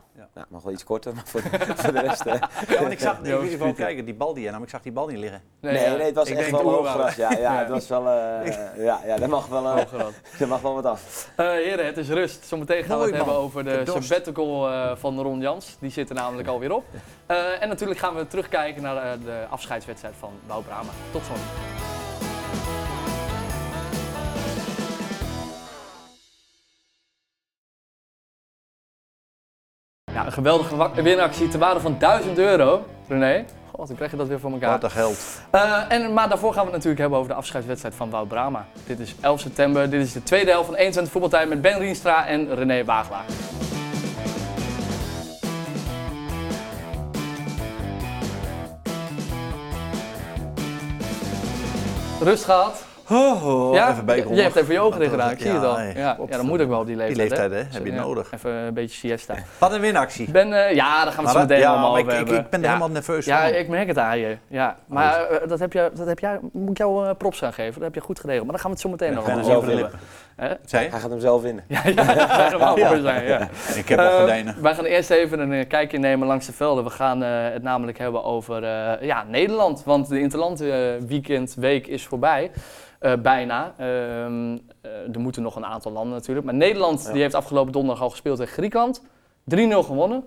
mag wel iets korter, maar voor de, voor de rest... eh, Ja, want ik zag, ik Joost wil gewoon Pieter. kijken, die bal die je nam, ik zag die bal niet liggen. nee, nee, ja. het was Ik echt denk wel hoog eh. Oerwoud. gras. Ja, ja, het was wel... eh, ja, ja, dat mag wel, eh, Hoger dan. dat mag wel wat af. Eh, heren, het is rust. Zometeen gaan we Mooi, het hebben man. over Ik de heb dorst. sabbatical eh, van Ron Jans. Die zit er namelijk alweer op. Eh, en natuurlijk gaan we terugkijken naar eh, de afscheidswedstrijd van Wout Brama. Tot zo. Ja, een geweldige wa- winactie te waarde van 1000 euro. René, god, dan krijg je dat weer voor elkaar. Wat een geld. Eh, en, maar daarvoor gaan we het natuurlijk hebben over de afscheidswedstrijd van Wout Brama. Dit is 11 september, dit is de tweede helft van 21 voetbaltijd met Ben Rienstra en René Waaglaar. Rust gehad. Ho, ho, ja? Oh, even bijkomen. Je hebt even je ogen erin geraakt, zie je het al. hey, Ja, ja, dat moet ook wel op die leeftijd. leeftijd, hè, heb je Ja, nodig. Even een beetje siesta. Wat een winactie. Ben, eh, ja, daar gaan we het zo Maar dat- meteen ja, allemaal maar over ik- ik- hebben. ik ben er Ja. helemaal nerveus Ja, van. ik merk het aan je. Ja. Maar eh, dat, heb je, dat heb jij, moet ik jou eh, props aan geven. Dat heb je goed geregeld. Maar daar gaan we het zo meteen nog Ik ben er over zelf zelf in. willen. hebben. Zei je? Hij gaat hem zelf in. Ja, ja, dat zou nog wel Ja. mooi zijn. Ja. Ik heb al Eh, gordijnen. wij gaan eerst even een eh, kijkje nemen langs de velden. We gaan eh, het namelijk hebben over eh, ja, Nederland. Want de Interland eh, weekend, week is voorbij. Eh, bijna. Ehm, eh, er moeten nog een aantal landen natuurlijk. Maar Nederland Ja. die heeft afgelopen donderdag al gespeeld tegen Griekenland. 3-0 gewonnen.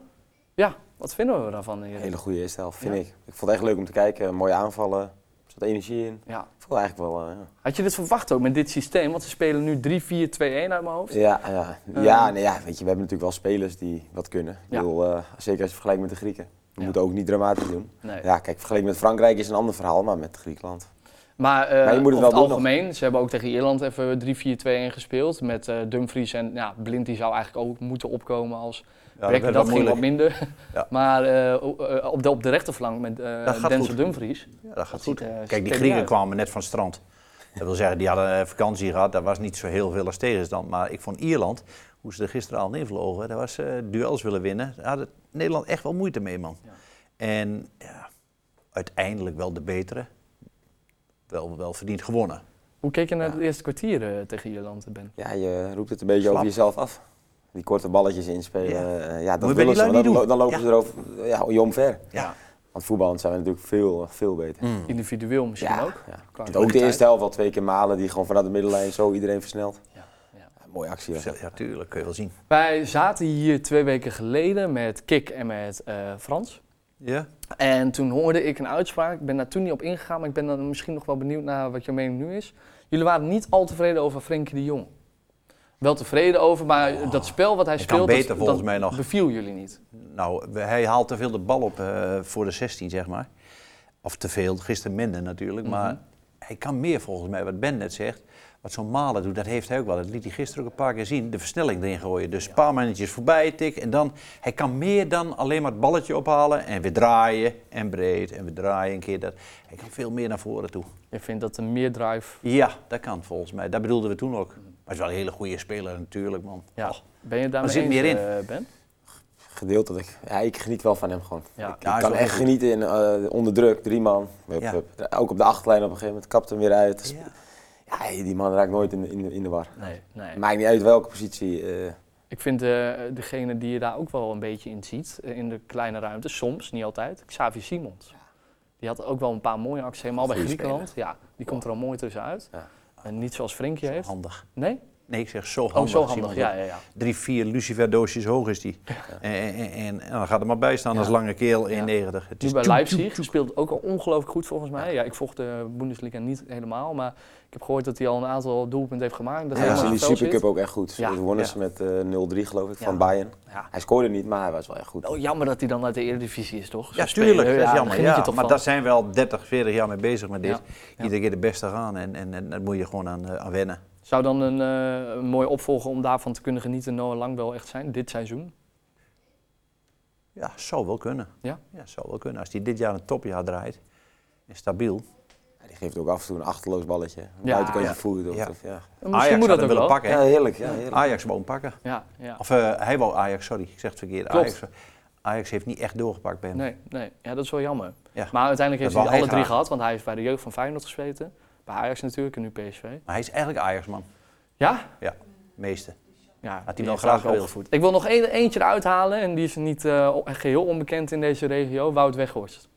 Ja, wat vinden we daarvan? heren? Een hele goede eerste helft, Ja. vind ik. Ik vond het echt leuk om te kijken. eh, Mooie aanvallen. Er zat energie in. Ja. Ik vond het eigenlijk wel... eh, ja. Had je dit verwacht ook met dit systeem? Want ze spelen nu 3-4-2-1 uit mijn hoofd. Ja, ja. Eh. ja, nee, ja, weet je, we hebben natuurlijk wel spelers die wat kunnen. Ik Ja. bedoel, eh, zeker als je vergelijkt met de Grieken. We Ja. moeten ook niet dramatisch doen. Nee. Ja, kijk, vergeleken met Frankrijk is een ander verhaal, maar met Griekenland. Maar, eh Maar je moet het over wel het doen algemeen, ze hebben ook tegen Ierland even 3-4-2-1 gespeeld. Met eh, Dumfries en ja, Blind, die zou eigenlijk ook moeten opkomen als Ja, Beck. werd dat wel ging wat moeilijk. minder. Ja. Maar eh, o- eh, op, de, op de rechterflank met eh Dat gaat Denzel goed. Dumfries. Ja, dat gaat Dat goed. ziet, eh, ziet Kijk, die er Grieken uit. kwamen net van het strand. Dat wil zeggen, die hadden eh, vakantie gehad. Daar was niet zo heel veel als tegenstand. Maar ik vond Ierland, hoe ze er gisteren al invlogen, daar was ze duels willen winnen. Daar had Nederland echt wel moeite mee, man. Ja. En ja, uiteindelijk wel de betere. Wel, wel verdiend gewonnen. Hoe keek je naar Ja. het eerste kwartier eh, tegen Ierland, Ben? Ja, je roept het een beetje Slap. over jezelf af. Die korte balletjes inspelen, Ja. eh, ja, Moet je dat bij willen die ze. lui maar niet Dan, lo- doen. dan lopen Ja. ze erover ja, je omver. Ja. Want voetballend zijn we natuurlijk veel, veel beter. Mm, Individueel misschien Hmm. ja, ook. ja. Qua- Ook de eerste helft al twee keer malen, die gewoon vanuit de middenlijn zo iedereen versnelt. Ja, ja. mooie actie. was dat. Ja, tuurlijk, kun je wel zien. Wij zaten hier twee weken geleden met Kik en met eh, Frans. Ja? En toen hoorde ik een uitspraak. Ik ben daar toen niet op ingegaan, maar ik ben dan misschien nog wel benieuwd naar wat jouw mening nu is. Jullie waren niet al tevreden over Frenkie de Jong. Wel tevreden over, maar Oh, dat spel wat hij hij kan speelt, dus beter dat, volgens dat mij nog. beviel jullie niet. Nou, we- hij haalt te veel de bal op eh, voor de 16, zeg maar. Of te veel, gisteren minder natuurlijk. Maar Mhm. hij kan meer volgens mij, wat Ben net zegt. Wat zo'n Malen doet, dat heeft hij ook wel. Dat liet hij gisteren ook een paar keer zien. De versnelling erin gooien. Dus een paar mannetjes voorbij tikken. En dan, hij kan meer dan alleen maar het balletje ophalen. En weer draaien. En breed. En weer draaien een keer. Dat. Hij kan veel meer naar voren toe. Je vindt dat een meer drive. Ja, dat kan volgens mij. Dat bedoelden we toen ook. Maar hij is wel een hele goede speler natuurlijk, man. Ja. Och. Ben je daarmee Oh. zit eens, meer in. eh, ben? Gedeeltelijk. Ja, ik geniet wel van hem gewoon. Ja. Ik Ja, hij is kan wel heel echt goed. genieten in, eh, onder druk, drie man. Hup, Ja. hup. Ook op de achterlijn op een gegeven moment, kapt hem weer uit. Ja. Ja, die man raakt nooit in de, in de, in de war. Nee, nee. Maakt niet uit welke positie. eh, Ik vind eh, degene die je daar ook wel een beetje in ziet, eh, in de kleine ruimte, soms, niet altijd, Xavier Simons. Die had ook wel een paar mooie acties, helemaal bij Goeie Griekenland. Ja, die komt er al mooi tussenuit. Ja. En niet zoals Frenkie heeft. Handig. Nee? Nee, ik zeg zo handig. Oh, zo Simon. handig. Ja, ja, ja. drie, vier luciferdoosjes hoog is die. En, en, en- en dan gaat er maar bij staan als lange keel Ja. 1,90. Het Nu is bij tjoek, Leipzig tjoek, tjoek. speelt ook al ongelooflijk goed volgens mij. Ja, ik volg de Bundesliga niet helemaal, maar ik heb gehoord dat hij al een aantal doelpunten heeft gemaakt. Dat hij hij was in helemaal die in het Supercup spel ook echt goed. Ze Ja, wonnen ja. ze met eh, 0-3 geloof ik, Ja. van Bayern. zit. Ja. Hij scoorde niet, maar hij was wel echt goed. Oh, jammer dat hij dan uit de Eredivisie is, toch? Zo'n Ja, tuurlijk. speler, Dat is daar jammer. geniet je Ja, toch maar van. daar zijn we al 30, 40 jaar mee bezig met dit. Ja. Ja. Iedere keer de beste gaan en, en, en daar moet je gewoon aan, eh, aan wennen. Zou dan een, eh, een mooie opvolger om daarvan te kunnen genieten Noah Lang wel echt zijn, dit seizoen? Ja, zou wel kunnen. Ja? zou wel kunnen. Als hij dit jaar een topjaar draait en stabiel. Ja, die geeft ook af en toe een achterloos balletje. Een Ja. buitenkantje Ja. voet. Of, Ja. of- ja. Misschien moet dat had hem ook wel. willen pakken. hè? Ah. ja, heerlijk. Ja, heerlijk. Ajax wou hem pakken. Ja, ja. Of eh, hij wou Ajax, sorry, ik zeg het verkeerd. Klopt. Ajax, Ajax heeft niet echt doorgepakt bij hem. Nee, nee. ja, dat is wel jammer. Ja. Maar uiteindelijk heeft Dat hij wou hij alle drie graag. gehad, want hij heeft bij de jeugd van Feyenoord gespeeld. Bij Ajax natuurlijk en nu PSV. Maar hij is eigenlijk Ajax-man, Ja? meeste. Ja, hij die wel heeft graag ook wel gewild. opgevoed. Ik wil nog één, eentje eruit halen en die is niet eh, o- geheel onbekend in deze regio, Wout Weghorst.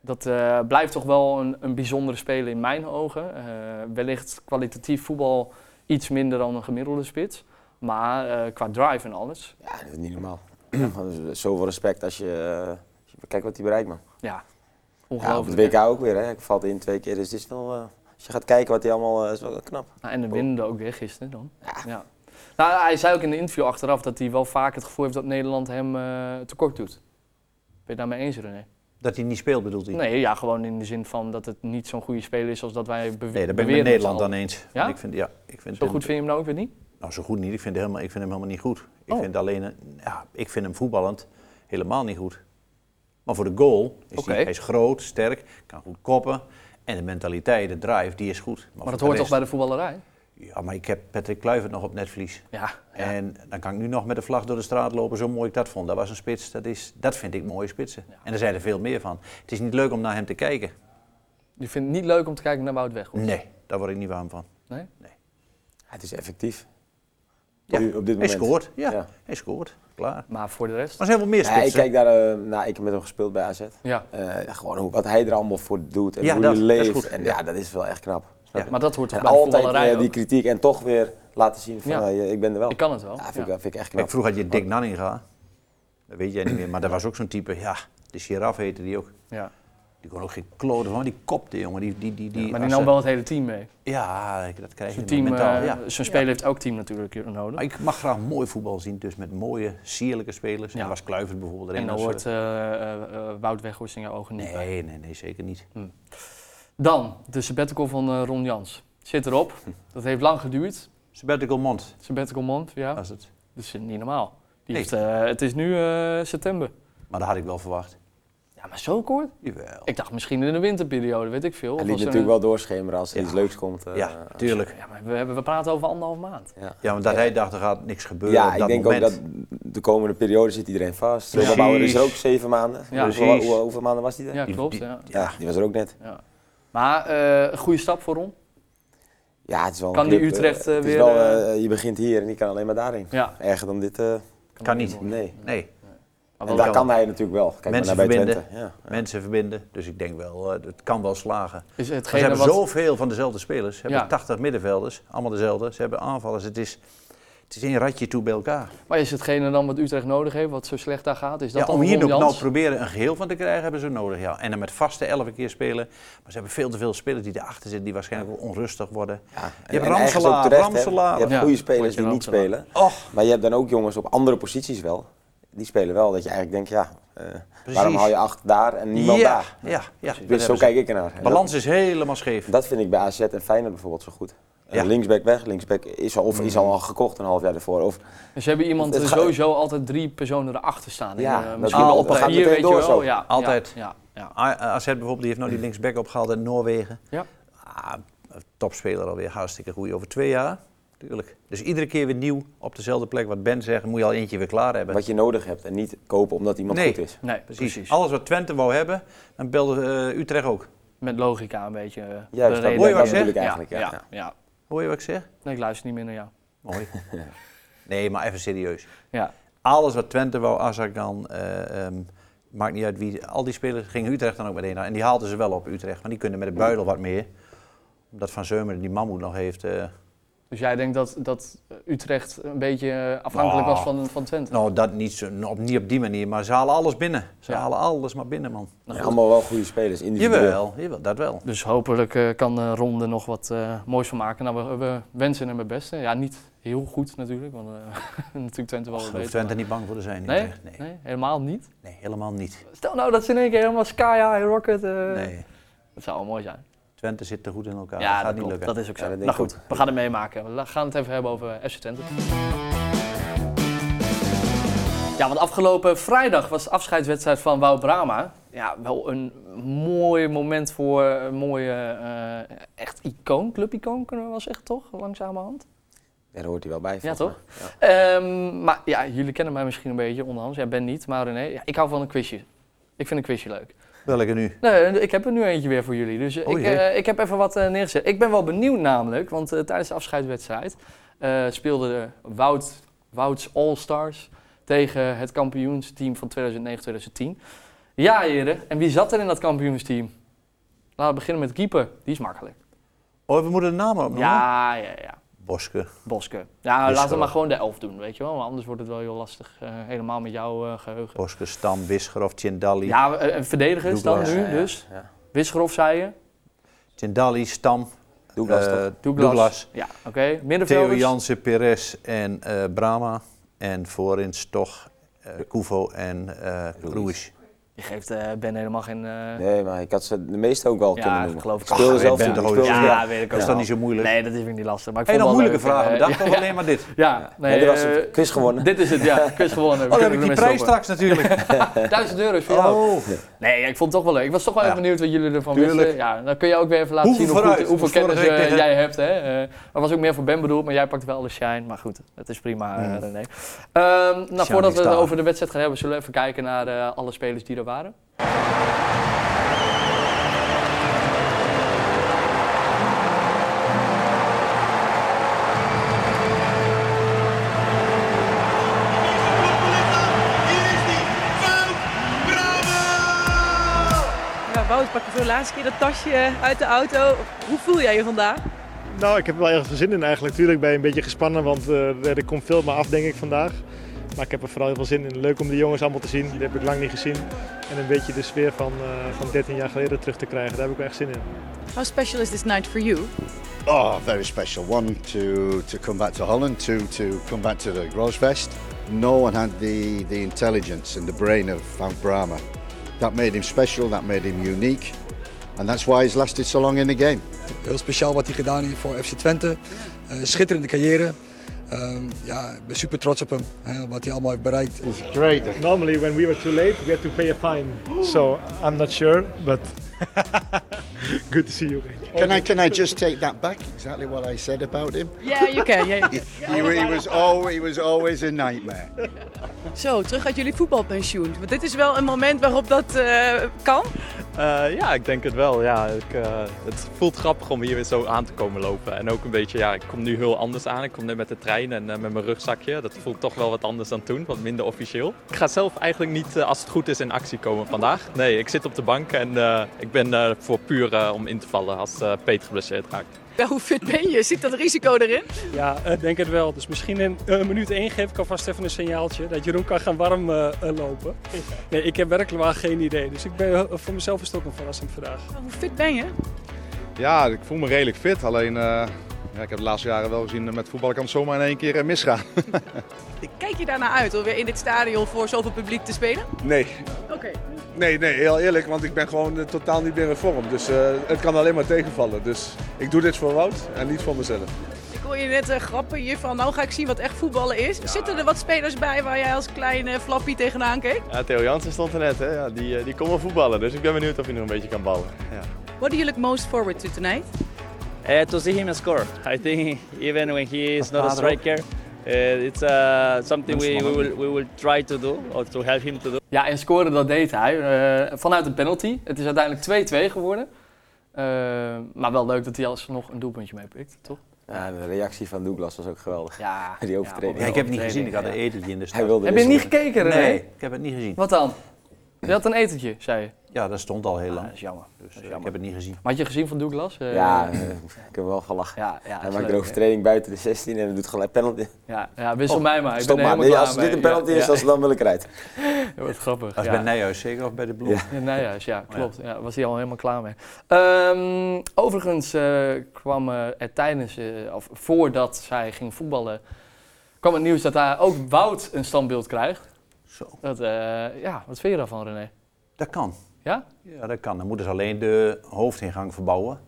Dat eh, blijft toch wel een, een bijzondere speler in mijn ogen. Eh, wellicht kwalitatief voetbal iets minder dan een gemiddelde spits. Maar eh, qua drive en alles, Ja, dat is niet normaal. Gewoon Zoveel respect als je... eh, als je- Kijk wat hij bereikt, man. ja, Ja, op het ongelooflijk. WK ook weer. Hè. Ik valt in twee keer. Dus dit is wel... eh, als je gaat kijken wat hij allemaal... eh, is wel knap. Nou, en de winnende ook weer gisteren dan. Ja. Ja. Nou, hij zei ook in de interview achteraf dat hij wel vaak het gevoel heeft dat Nederland hem eh, tekort doet. Ben je het daarmee eens, René? Dat hij niet speelt bedoelt hij. Nee, ja, gewoon in de zin van dat het niet zo'n goede speler is als dat wij bewe- Nee, daar ben ik beweren met Nederland z'n dan allen. eens. Ja? Want Ik vind, ja, ik vind Zo hem- goed vind je hem nou ook weer niet? Nou, zo goed niet. Ik vind, hem helemaal, ik vind hem helemaal niet goed. Ik, Oh. vind alleen, een- ja, ik vind hem voetballend helemaal niet goed. Maar voor de goal is Oké. hij, hij is groot, sterk, kan goed koppen. En de mentaliteit, de drive, die is goed. Maar dat voor hoort de toch rest- bij de voetballerij? Ja, maar ik heb Patrick Kluivert nog op netvlies. Ja. ja. En dan kan ik nu nog met de vlag door de straat lopen, zo mooi ik dat vond. Dat was een spits, dat, is, dat vind ik mooie spitsen. En er zijn er veel meer van. Het is niet leuk om naar hem te kijken. Je vindt het niet leuk om te kijken naar Wout Weghorst? Nee, daar word ik niet warm van. Nee? Het is effectief. Ja, Nu, op dit hij moment. scoort, ja, Ja. hij scoort, klaar. Maar voor de rest? Maar er zijn wel meer Ja, ik spitsen. kijk daar eh, naar, ik heb met hem gespeeld bij AZ. Ja. Eh, gewoon hoe, wat hij er allemaal voor doet en Ja, hoe dat- hij dat is leeft. goed. En Ja. ja. dat is wel echt knap. Snap Ja. je? Maar dat hoort toch En bij de altijd voetballerij eh, die ook? kritiek en toch weer laten zien van Ja. eh, je- ik ben er wel. Ik kan het wel. Ja, vind, Ja. Ik, wel- vind ik echt knap. Kijk, vroeger had je Dick Nanninga. Dat weet jij niet meer, maar dat was ook zo'n type. Ja, de giraf heette die ook. Ja. Die kon ook geen kloten van, die kopte, jongen. Die, die, die, Maar die, die als nam ze- wel het hele team mee. Ja, dat krijg je Zo'n team, mentaal. eh, ja. Ah, zo'n speler heeft ook team natuurlijk nodig. Maar ik mag graag mooi voetbal zien, dus met mooie, sierlijke spelers. En Ja. daar was Kluivert bijvoorbeeld erin. En dan Dat hoort soort- eh, eh, eh, Wout Weghorst in jouw ogen niet bij. Nee, nee, nee, zeker niet. Dan, de sabbatical van eh, Ron Jans. Zit erop. Dat heeft lang geduurd. Sabbatical Mond Sabbatical month, ja. was het. Dat is niet normaal. Die Nee. heeft, eh, het is nu eh, september. Maar dat had ik wel verwacht. Ja, maar zo Oh, kort? Jawel. Ik dacht misschien in de winterperiode, weet ik veel. Of Hij liet als er natuurlijk een- wel doorschemeren als er Ja. iets leuks komt. eh, ja, tuurlijk. Ja, maar we, hebben, we praten over anderhalf maand. ja. Ja, want dat hij dacht, er gaat niks gebeuren Ja, op ik dat denk moment. ook dat de komende periode zit iedereen vast. Precies. Robert Bauer is er ook zeven maanden. Ja. Hoeveel- Precies. hoe- hoeveel maanden was hij er? Ja, Die- klopt. die- Ja. Ja, die was er ook net. Ja. Maar eh, een goede stap voor Ron. Ja, het is wel een Kan die club, eh, Utrecht, eh, het is weer, wel, eh, eh, je begint hier en die kan alleen maar daarheen. Ja, Erger dan dit. eh, Kan niet. worden. nee. Nee, Maar En wel- daar kan hij natuurlijk wel. Kijk Mensen maar naar bij verbinden. Twente. Ja. mensen verbinden. Dus ik denk wel, eh, het kan wel slagen. Maar is Ze hetgene hebben wat... zoveel van dezelfde spelers. Ze hebben Ja. 80 middenvelders, allemaal dezelfde. Ze hebben aanvallers. Het is, het is één ratje toe bij elkaar. Maar is hetgene dan wat Utrecht nodig heeft, wat zo slecht daar gaat? Is dat Ja, dan om hier Ron nog nou Jans? proberen een geheel van te krijgen, hebben ze nodig. Ja. En dan met vaste elf keer spelen. Maar ze hebben veel te veel spelers die erachter zitten, die waarschijnlijk ook onrustig worden. Ja. En- hebt en ergens Ramselaar, ook terecht, hè. Ramselaar. Je hebt Ja, goede moet spelers je die niet Ramselaar. spelen. Och, Maar je hebt dan ook jongens op andere posities wel. Die spelen wel. Dat je eigenlijk denkt, ja, eh, waarom haal je acht daar en niemand ja, daar? ja, ja. Dus zo kijk ik ernaar. En dat- Balans is helemaal scheef. Dat vind ik bij AZ en Feyenoord bijvoorbeeld zo goed. Eh, Ja. Linksback weg, linksback is al, of is Mhm. al, al gekocht een half jaar ervoor. Of, Dus hebben iemand Het er ga- sowieso altijd drie personen erachter staan. Ja, En, eh, dat misschien gaat- wel op dat gaat papier, meteen weet je wel. door zo. Ja, Altijd. Ja, ja, A- AZ bijvoorbeeld, die heeft nou die linksback opgehaald uit Noorwegen. Ja. Ah, topspeler alweer, hartstikke goed over twee jaar. Tuurlijk. Dus iedere keer weer nieuw op dezelfde plek. Wat Ben zegt, moet je al eentje weer klaar hebben. wat je nodig hebt en niet kopen omdat iemand Nee. goed is. Nee, Nou, Precies. precies. Alles wat Twente wou hebben, dan belde eh, Utrecht ook. Met logica een beetje. eh, Juist, de dat, reden Hoor je wat dat ik waarom- bedoel ik eigenlijk. Ja, ja, ja. ja. ja. Hoor je wat ik zeg? Nee, ik luister niet meer naar jou. Mooi. nee, maar even serieus. Ja, Alles wat Twente wou, Azarkan, eh ehm, maakt niet uit wie. Al die spelers gingen Utrecht dan ook meteen aan. En die haalden ze wel op Utrecht, want die kunnen met de buidel wat meer. Omdat Van Zeumeren die mammoet nog heeft. eh, dus jij denkt dat, dat eh, Utrecht een beetje eh, afhankelijk Nou. was van, van Twente? nou, dat niet, zo, nou, op, niet op die manier, maar ze halen alles binnen. Ze Ja. halen alles maar binnen, man. Nou, goed. En allemaal wel goede spelers, individueel. Jawel, jawel, dat wel. Dus hopelijk eh, kan eh Ron er nog wat eh, moois van maken. Nou, we, we wensen hem het beste. Ja, niet heel goed natuurlijk, want eh, natuurlijk Twente wel Daar wat hoeft beter. Twente niet bang voor te zijn. Nee? Utrecht. Nee, Nee, helemaal niet. nee, helemaal niet. Stel nou dat ze in één keer helemaal Sky High Rocket... eh, Nee, Dat zou wel mooi zijn. Twente zit te goed in elkaar. ja, dat gaat dat, niet klopt. lukken. dat is ook Ja, zo. dat denk nou ik goed, we gaan het meemaken. We gaan het even hebben over FC Twente. Ja, want afgelopen vrijdag was de afscheidswedstrijd van Wout Brama. Ja, wel een mooi moment voor een mooie, eh, echt icoon, clubicoon kunnen we wel zeggen, toch? Langzamerhand. Daar hoort hij wel bij. Ja, volgens mij. Ehm, maar ja, jullie kennen mij misschien een beetje onderhand. Jij bent niet, maar René, ja, ik hou van een quizje. Ik vind een quizje leuk. Welke nu? Nee, ik heb er nu eentje weer voor jullie. Dus Oh ik, jee. eh, ik heb even wat eh, neergezet. Ik ben wel benieuwd namelijk, want eh, tijdens de afscheidswedstrijd eh, speelde de Wout, Wouts All-Stars tegen het kampioensteam van 2009-2010. Ja, heren. En wie zat er in dat kampioensteam? Laten we beginnen met de keeper. Die is makkelijk. Oh, we moeten de naam opnoemen. Ja, ja, ja. Boske. Boske. Ja, Wissel. laten we maar gewoon de elf doen, weet je wel. Want anders wordt het wel heel lastig, eh, helemaal met jouw eh, geheugen. Boske, Stam, Wisgerov, Tjendali. Ja, eh, een verdediger is dan Douglas. nu, Ja, ja, dus. ja. Wisgerov, zei je. Tjendali, Stam, Douglas eh, toch? Douglas. Douglas, Ja, oké. Middenvelders. Theo Jansen, Perez en eh Brahma. En voorin Stoch, eh Kuvo en eh Ruiz. Je geeft eh, Ben helemaal geen... eh, Nee, maar ik had ze de meeste ook wel Ja, kunnen dat noemen. geloof ik Speelde ook. zelf Ben niet. toch ook Speelde niet? zelf- ja, weet ik ook is wel. dat niet zo moeilijk? Nee, dat is weer niet lastig. Maar ik Heb je vond nog het wel moeilijke leuk, vragen eh, bedacht ja, of alleen maar dit? Ja, nee, Nee, dat was eh, het. Quiz gewonnen. Dit is het, ja. Quiz gewonnen. We Oh, dan heb kunnen ik die ermee prijs stoppen. straks natuurlijk. 1000 euro is voor jou. Oh. eh. Nee, ja, ik vond het toch wel leuk. Ik was toch wel Ja. even benieuwd wat jullie ervan Tuurlijk. wisten. Ja, dan kun je ook weer even laten Hoeveel zien hoe vooruit? goed, hoeveel Dus vorige kennis eh, week tegen- jij hebt. Hè? Eh, dat was ook meer voor Ben bedoeld, maar jij pakt wel de shine. Maar goed, het is prima, eh, Mm. René. Ehm, nou, voordat we het staan. over de wedstrijd gaan hebben, zullen we even kijken naar eh, alle spelers die er waren. Ja, Wout, pak je voor de laatste keer dat tasje uit de auto. Hoe voel jij je vandaag? Nou, ik heb er wel erg veel zin in eigenlijk. Tuurlijk ben je een beetje gespannen, want eh, er komt veel maar af denk ik vandaag. Maar ik heb er vooral heel veel zin in. Leuk om de jongens allemaal te zien, die heb ik lang niet gezien. En een beetje de sfeer van, eh, van 13 jaar geleden terug te krijgen, daar heb ik wel echt zin in. How special is this night for you? Oh, very special. One, to, to come back to Holland, two, to come back to the Grosfest. No one had the, the intelligence and the brain of Frank Brahma. That made him special, that made him unique, and that's why he's lasted so long in the game. Heel speciaal wat hij gedaan heeft voor FC Twente. Eh, schitterende carrière. Ehm, ja, ik ben super trots op hem, hè, wat hij allemaal heeft bereikt. It's great. Normally when we were too late, we had to pay a fine. So, I'm not sure, but good to see you. Can I, can I just take that back? Exactly what I said about him. Yeah, you can. He, he was, always, he was always a nightmare. Zo, terug uit jullie voetbalpensioen. Want dit is wel een moment waarop dat eh, kan. Eh, ja, ik denk het wel. Ja, ik, eh, het voelt grappig om hier weer zo aan te komen lopen. En ook een beetje, ja, ik kom nu heel anders aan. Ik kom net met de trein en eh, met mijn rugzakje. Dat voelt toch wel wat anders dan toen, wat minder officieel. Ik ga zelf eigenlijk niet, eh, als het goed is, in actie komen vandaag. Nee, ik zit op de bank en eh, ik ben eh, voor puur eh, om in te vallen als eh Peter geblesseerd raakt. Ja, hoe fit ben je? Zit dat risico erin? Ja, ik denk het wel. Dus misschien in eh, minuut 1 geef ik alvast even een signaaltje dat Jeroen kan gaan warm eh, eh, lopen. Nee, ik heb werkelijk waar geen idee. Dus ik ben, eh, voor mezelf is het ook een verrassing vandaag. Hoe fit ben je? Ja, ik voel me redelijk fit. Alleen, eh, ja, ik heb de laatste jaren wel gezien, eh, met voetbal kan het zomaar in één keer eh, misgaan. Kijk je daarna uit om weer in dit stadion voor zoveel publiek te spelen? Nee, Oké. nee, nee, heel eerlijk, want ik ben gewoon eh, totaal niet meer in vorm. Dus het kan alleen maar tegenvallen. Dus ik doe dit voor Wout en niet voor mezelf. Ik hoor je net eh, grappen hier van, nou ga ik zien wat echt voetballen is. Zitten er wat spelers bij waar jij als kleine flappie tegenaan keek? Ja, Theo Jansen stond er net, hè? Ja, die, eh, die kon wel voetballen. Dus ik ben benieuwd of hij nog een beetje kan ballen. What do you look most forward to tonight? Uh, to see him score, I think even when he is not a striker, uh, it's uh, something we, we, will, we will try to do or to help him to do. Ja, en scoren dat deed hij eh, vanuit een penalty. Het is uiteindelijk 2-2 geworden. Eh, maar wel leuk dat hij alsnog een doelpuntje meepikt, toch? Ja, de reactie van Douglas was ook geweldig. Ja, Die overtreding. Ja, ik heb het niet gezien. Ik had een ja. etentje in de Hij stad. wilde dus Heb je wisselen. niet gekeken, René? Nee, ik heb het niet gezien. Wat dan? Je had een etentje, zei je. Ja, dat stond al heel Ah, lang. dat is jammer. Dus eh, ik jammer. heb het niet gezien. Maar had je gezien van Douglas? Eh, Ja, eh, ik heb wel gelachen. ja, ja, Hij is maakt leuk, een hè? overtreding buiten de 16 en doet gelijk penalty. Ja, ja wissel mij maar. Ik Stop ben er helemaal maar. Nee, klaar als dit mee. een penalty Ja, is, ja. als dan wil ik eruit. Ja, wat grappig. Dat is ja. bij Nijhuis zeker of bij de Bloem. Ja. Ja, Nijhuis, Oh ja, klopt. Ja, was hij al helemaal klaar mee. Ehm, overigens eh, kwam eh, er tijdens, eh, of voordat zij ging voetballen, kwam het nieuws dat daar ook Wout een standbeeld krijgt. Zo, Dat, eh, ja, wat vind je daarvan, René? dat kan. Ja? Ja, dat kan. Dan moeten ze alleen de hoofdingang verbouwen.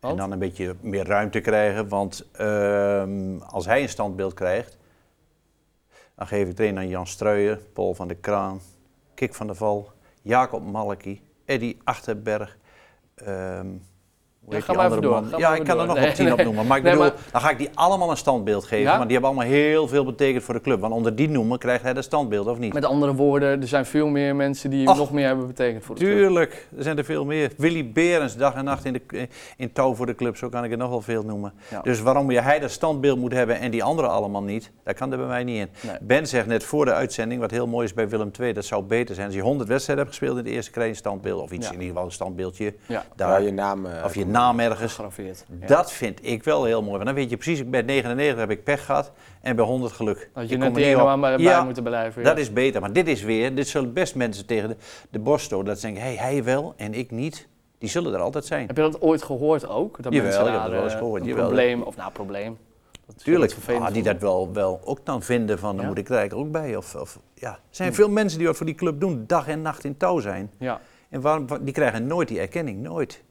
Want? En dan een beetje meer ruimte krijgen. Want ehm, als hij een standbeeld krijgt, dan geef ik het een aan Jan Struijen, Paul van der Kraan, Kik van der Val, Jacob Malki, Eddy Achterberg. ehm, hoe heet ga die maar andere even door, man? ga Ja, maar ik even kan er door. nog Nee, wel tien op nee. noemen. Maar ik Nee, bedoel, maar- dan ga ik die allemaal een standbeeld geven. Ja? Want die hebben allemaal heel veel betekend voor de club. Want onder die noemen krijgt hij dat standbeeld, of niet? Met andere woorden, er zijn veel meer mensen die Ach, nog meer hebben betekend voor de club. Tuurlijk, er zijn er veel meer. Willy Berens, dag en nacht in, de, in touw voor de club, zo kan ik er nog wel veel noemen. Ja. Dus waarom je hij dat standbeeld moet hebben en die anderen allemaal niet, dat kan er bij mij niet in. Nee. Ben zegt net voor de uitzending, wat heel mooi is bij Willem II, dat zou beter zijn als je 100 wedstrijden hebt gespeeld in de eerste krijg je een standbeeld, of iets Ja. in ieder geval een standbeeldje, Ja, Waar daar, je naam... eh, of je naam ergens. gegraveerd. Ja. Dat vind ik wel heel mooi, want dan weet je precies, ik bij 99 heb ik pech gehad en bij 100 geluk. Had je net Ik kom er die niet ene op. maar bij, Ja, bij moeten blijven. ja. dat is beter. Maar dit is weer, dit zullen best mensen tegen de, de borst stoten. Dat ze denken, hey, hij wel en ik niet. Die zullen er altijd zijn. Heb je dat ooit gehoord ook? Dat Jawel, mensen ik heb daar, dat wel eens eh, gehoord, Een jawel. probleem, of nou, probleem. dat is Tuurlijk, wat ah, vervelend die voor dat wel, wel ook dan vinden van, dan Ja. moet ik er eigenlijk ook bij. Of, of, ja. Er zijn veel mensen die wat voor die club doen, dag en nacht in touw zijn. me. Ja. En waarom, wa- die krijgen nooit die erkenning, nooit.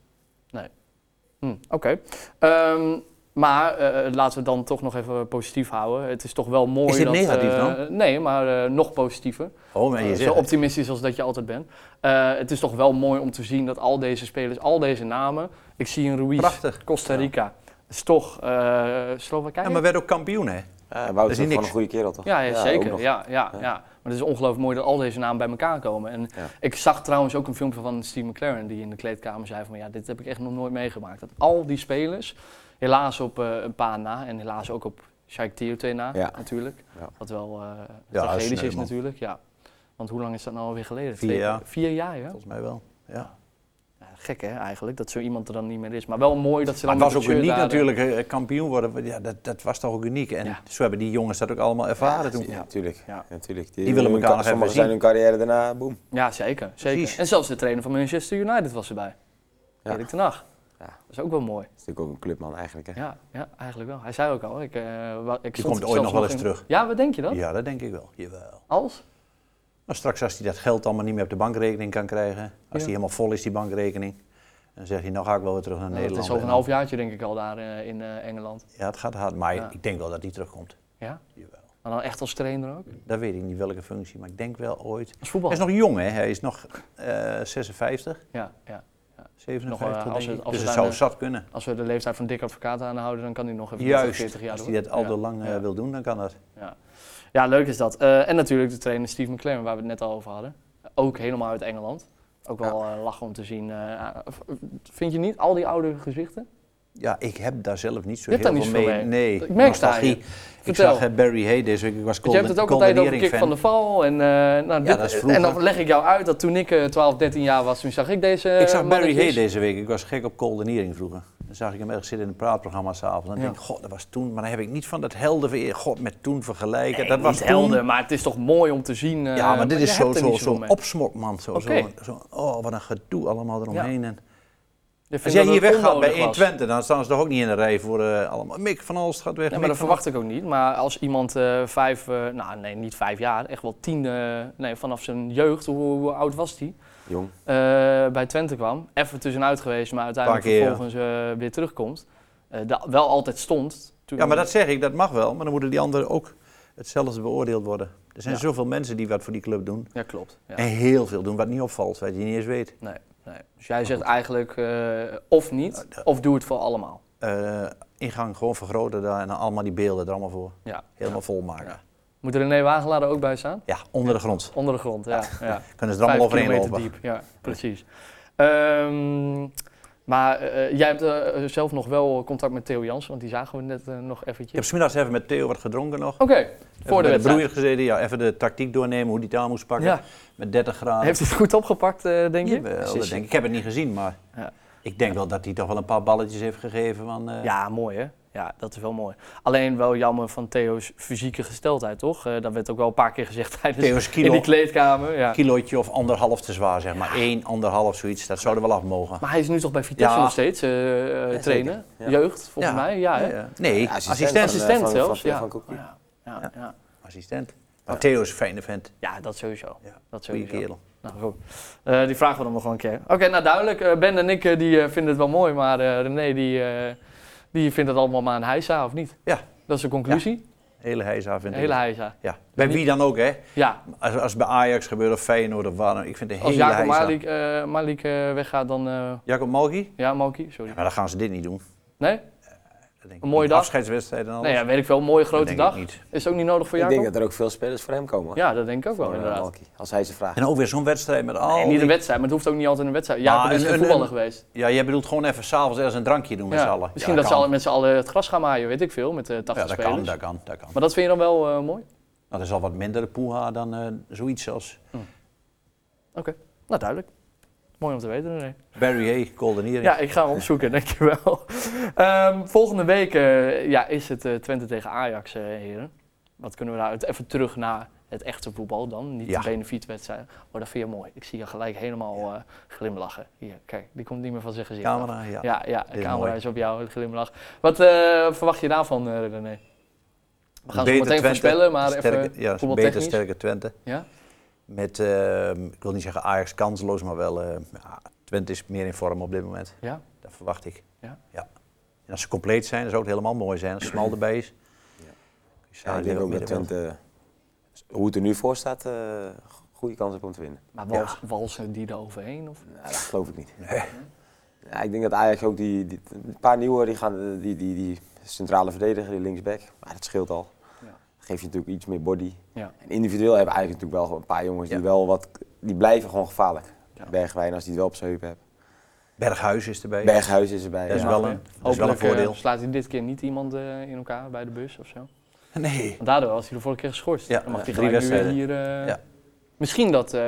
Hm, Oké. Ehm, maar eh, laten we het dan toch nog even positief houden. Het is toch wel mooi. Is dit dat, negatief eh, Nee, maar eh, nog positiever. Oh, maar Eh, je zo zegt, het. optimistisch als dat je altijd bent. Eh, het is toch wel mooi om te zien dat al deze spelers, al deze namen. Ik zie een Ruiz, prachtig. Costa Rica. is toch eh Slowakije. Ja, maar werd ook kampioen, hè? Ja, Dat eh, Wouter is is niet gewoon niks. een goede kerel, toch? Ja, ja, ook zeker. nog. Ja, ja, ja. Ja. Maar het is ongelooflijk mooi dat al deze namen bij elkaar komen. En Ja. ik zag trouwens ook een filmpje van Steve McLaren die in de kleedkamer zei van ja, dit heb ik echt nog nooit meegemaakt. Dat al die spelers, helaas op eh, een paar na en helaas ook op Shaik Tiote na Ja. natuurlijk. Ja. Wat wel eh Ja, tragedisch sneu, is man. natuurlijk. Ja. Want hoe lang is dat nou alweer geleden? Vier Twee- jaar. Vier jaar, ja. Volgens mij wel. Ja. Ja, Gek hè, eigenlijk, dat zo iemand er dan niet meer is. Maar wel mooi dat ze Maar dan het was met ook het shirt uniek daar- natuurlijk, eh, kampioen worden, ja, dat, dat was toch ook uniek. En Ja. zo hebben die jongens dat ook allemaal ervaren toen. Ja, natuurlijk. Ja. Ja. natuurlijk. Die willen hun- elkaar nog Sommigen even zijn hun carrière daarna, boem. Ja, zeker. zeker. Precies. En zelfs de trainer van Manchester United was erbij. Ja. Erik ten Hag. Ja. Dat is ook wel mooi. Dat is natuurlijk ook een clubman eigenlijk, hè? Ja, ja, eigenlijk wel. Hij zei ook al. Ik, eh, wa- ik Die stond komt ooit zelfs nog wel eens in- terug. Ja, wat denk je dan? Ja, dat denk ik wel. Jawel. Als? Maar straks als hij dat geld allemaal niet meer op de bankrekening kan krijgen, als Ja. die helemaal vol is, die bankrekening, dan zeg je, nou ga ik wel weer terug naar Nou, dat is Nederland. over een En half jaartje denk ik al daar eh, in eh, Engeland. dan- Ja, het gaat hard, maar Ja. ik denk wel dat hij terugkomt. Ja? Jawel. Maar dan echt als trainer ook? Dat weet ik niet welke functie, maar ik denk wel ooit. Als Hij is voetballer? nog jong, hè? Hij is nog eh, 56, Ja, ja. 57, Nog, eh, als denk het- ik. als het Dus het aan zou de- zat kunnen. Als we de leeftijd van Dick Advocaat aanhouden, dan kan hij nog even 30, 40 Juist, jaar als door. hij dat al Ja. te lang eh, Ja. wil doen, dan kan dat. Ja. ja, leuk is dat. Eh, en natuurlijk de trainer Steve McLaren, waar we het net al over hadden. Ook helemaal uit Engeland. Ook wel eh, lachen om te zien. eh, v- vind je niet al die oude gezichten? Ja, ik heb daar zelf niet zo Je hebt daar heel niet veel zoveel mee. mee. Nee, Ik merk het aan je. nostalgie. Ik Vertel. zag eh, Barry Hay deze week, ik was Want je hebt het ook altijd over Kik van de Val. En, eh, nou, dit- dat is en vroeger. dan leg ik jou uit dat toen ik eh, 12, 13 jaar was, toen zag ik deze Ik zag Barry Hay Eh, mannetjes. deze week. Ik was gek op coldeniering vroeger. Dan zag ik hem ergens zitten in een praatprogramma s'avonds. En Ja. dan denk ik, god, dat was toen. Maar dan heb ik niet van dat helden weer. God, met toen vergelijken. Nee, dat was niet toen. helder, maar het is toch mooi om te zien. eh, ja, maar dit je is hebt zo, er zo, niet zoveel zo'n mee. opsmokman. Zo, Oké. zo, zo- oh, wat een gedoe allemaal eromheen. En Je vindt als jij dat hier het weggaat bij onnodig was. 120, dan staan ze toch ook niet in de rij voor eh, allemaal. Mick van Alst gaat weg. Ja, maar Mick dat van verwacht ik ook niet. Maar als iemand eh, vijf, eh, nou nee, niet vijf jaar, echt wel tien, eh, nee, vanaf zijn jeugd, hoe, hoe oud was hij, Jong. bij Twente kwam. Even tussenuit geweest, maar uiteindelijk Paar keer, ja. vervolgens eh, weer terugkomt. Eh, da- wel altijd stond. Toen- Ja, maar dat zeg ik, dat mag wel. Maar dan moeten die anderen ook hetzelfde beoordeeld worden. Er zijn Ja. zoveel mensen die wat voor die club doen. Ja, klopt. Ja. En heel veel doen wat niet opvalt, wat je niet eens weet. Nee, nee. Dus jij zegt eigenlijk eh, of Nou, niet, of doe het voor allemaal. eh, ingang gewoon vergroten daar en dan allemaal die beelden er allemaal voor. Ja. Helemaal vol maken. Ja. Ja. Moet René Wagelaar er ook bij staan? onder de grond. Onder de grond, ja. ja. Kunnen ze er allemaal Vijf overheen kilometer lopen. diep, ja, precies. Ehm, maar eh, jij hebt eh, zelf nog wel contact met Theo Jans, want die zagen we net eh, nog Ik heb eventjes. smiddags even met Theo wat gedronken nog. Oké, Oh, voor de Even bij de wedstrijd. broeier gezeten, ja, even de tactiek doornemen, hoe die het aan moest pakken. Ja. Met 30 graden. Heeft hij het goed opgepakt, eh, denk je? Jawel, dat denk ik. ik heb het niet gezien, maar Ja. ik denk wel dat hij toch wel een paar balletjes heeft gegeven. Van, eh, Ja, mooi hè? Ja, dat is wel mooi. Alleen wel jammer van Theo's fysieke gesteldheid, toch? Eh, dat werd ook wel een paar keer gezegd tijdens Theo's in die kilo, kleedkamer. Ja. kilootje of anderhalf te zwaar, zeg maar. Eén, anderhalf, zoiets. Dat zou er wel af mogen. Maar hij is nu toch bij Vitesse Ja. nog steeds eh, eh, Ja, trainen? Ja. Jeugd, volgens Ja. mij. Ja, hè? Ja, ja. Nee, van, assistent. eh, Assistent van- zelfs, van- ja. van Koekoek. Ja, ja, ja. Assistent. Maar Theo is een fijne vent. Ja, dat sowieso. Ja, Dat Goeie sowieso. kerel. Nou, goed. Eh, die vragen we dan nog wel een keer. Oké, nou duidelijk. eh, ben en ik eh, die, eh, vinden het wel mooi, maar eh, René die, eh, die vindt het allemaal maar een heisa, of niet? Ja. Dat is de conclusie. Hele heisa een vind ik. hele heisa. Ja, bij wie dan ook, hè? Ja, Als, als het bij Ajax gebeurt of Feyenoord of waar dan ook, Ik vind het een als hele Jacob heisa. Malik, eh, Malik eh, weggaat, dan... eh, Jacob Malki? ja, Moki, sorry. Ja, maar dan gaan ze dit niet doen. Nee? Dat denk ik Een mooie niet. dag? Afscheidswedstrijd en alles. Nee, ja, weet ik veel. Mooie Dat grote denk ik dag. niet. Is het ook niet nodig voor Ik Jacob? denk dat er ook veel spelers voor hem komen. hoor. Ja, dat denk ik ook wel, Voor, eh, inderdaad. Malky. Als hij ze vraagt. En ook weer zo'n wedstrijd met al Nee, niet die- een wedstrijd, maar het hoeft ook niet altijd een wedstrijd. Jacob Maar is een- een een- voetballer een- geweest. Ja, jij bedoelt gewoon even s'avonds ergens een drankje doen met Ja, z'n allen. Misschien Ja, dat ze kan. alle- met z'n allen het gras gaan maaien, weet ik veel, met eh 80 Ja, dat spelers. kan, dat kan, dat kan. Maar dat vind je dan wel eh, mooi? Dat is al wat minder de poeha dan eh, zoiets als Nou, duidelijk. Mooi om te weten, René. Barry Hay, Coldeniering. Ja, ik ga hem opzoeken, dankjewel. Ehm volgende week eh, ja, is het eh, Twente tegen Ajax, eh, heren. Wat kunnen we daaruit even terug naar het echte voetbal dan, niet Ja. de benefietwedstrijd. Oh, dat vind je mooi. Ik zie je gelijk helemaal eh, glimlachen. Hier, kijk, die komt niet meer van zijn gezicht. af. Camera, ja. Ja, ja Dit is camera mooi. is op jou, het glimlach. Wat eh, verwacht je daarvan, eh, René? We gaan zo Beter meteen Twente, voorspellen, maar sterke, even ja, beter voetbaltechnisch. sterke Twente. Ja? Met, eh, ik wil niet zeggen Ajax kansloos, maar wel eh, ja, Twente is meer in vorm op dit moment. Ja? Dat verwacht ik. Ja? En als ze compleet zijn, dan zou het helemaal mooi zijn. Als Smal erbij is. Ja, ik denk ook dat Twente, hoe het er nu voor staat, eh, goede kans heeft om te winnen. Maar wals, walsen die er overheen? Of? Nou, dat geloof ik niet. Ja, ik denk dat Ajax ook die, die een paar nieuwe, die, gaan, eh, die, die, die centrale verdediger, die linksback, maar dat scheelt al. Ja. Dat geeft je natuurlijk iets meer body. Ja. En individueel hebben Ajax natuurlijk wel een paar jongens die wel wat, die blijven gewoon gevaarlijk. Ja. Bergwijn als die het wel op zijn heup hebt. Berghuis is erbij. Berghuis is erbij. Dat is ja. wel een, dat is wel een Hopelijk, eh, voordeel. slaat hij dit keer niet iemand eh, in elkaar bij de bus of zo? Nee. Want daardoor was hij de vorige keer geschorst. Ja, Dan mag hij drie gelijk nu weer hier... wedstrijden. eh, Ja. Misschien dat eh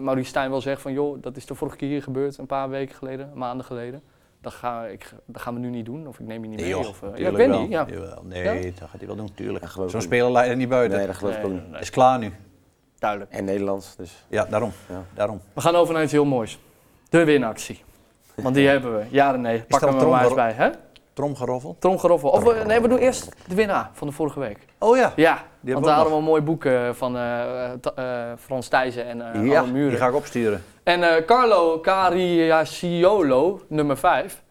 Maurice Stijn wel zegt van... joh, dat is de vorige keer hier gebeurd, een paar weken geleden, maanden geleden. Dat, ga, ik, dat gaan we nu niet doen, of ik neem je niet Nee, mee. joh, of, eh, ja, ik tuurlijk weet wel. niet. Ja. Jawel, Ja? nee, dat gaat hij wel doen, tuurlijk. Ja, geloof ik Zo'n niet. speler leidt er niet buiten. Nee, dat geloof ik ook Nee. niet. Is klaar nu. Duidelijk. En Nederlands, dus Ja, daarom. Ja. daarom. We gaan over naar iets heel moois. De winactie. Want die hebben we. Ja en nee, pak dat hem er maar eens tromgeroffel? bij. Hè? Tromgeroffel. Tromgeroffel. Of we, nee, we doen eerst de winnaar van de vorige week. Oh ja. Ja, we ook want daar hadden nog. we een mooi boek eh, van eh, eh, Ta- eh, Frans Thijssen en eh ja, Anne Muren. die ga ik opsturen. En eh, Carlo Cariaciolo, nummer 5,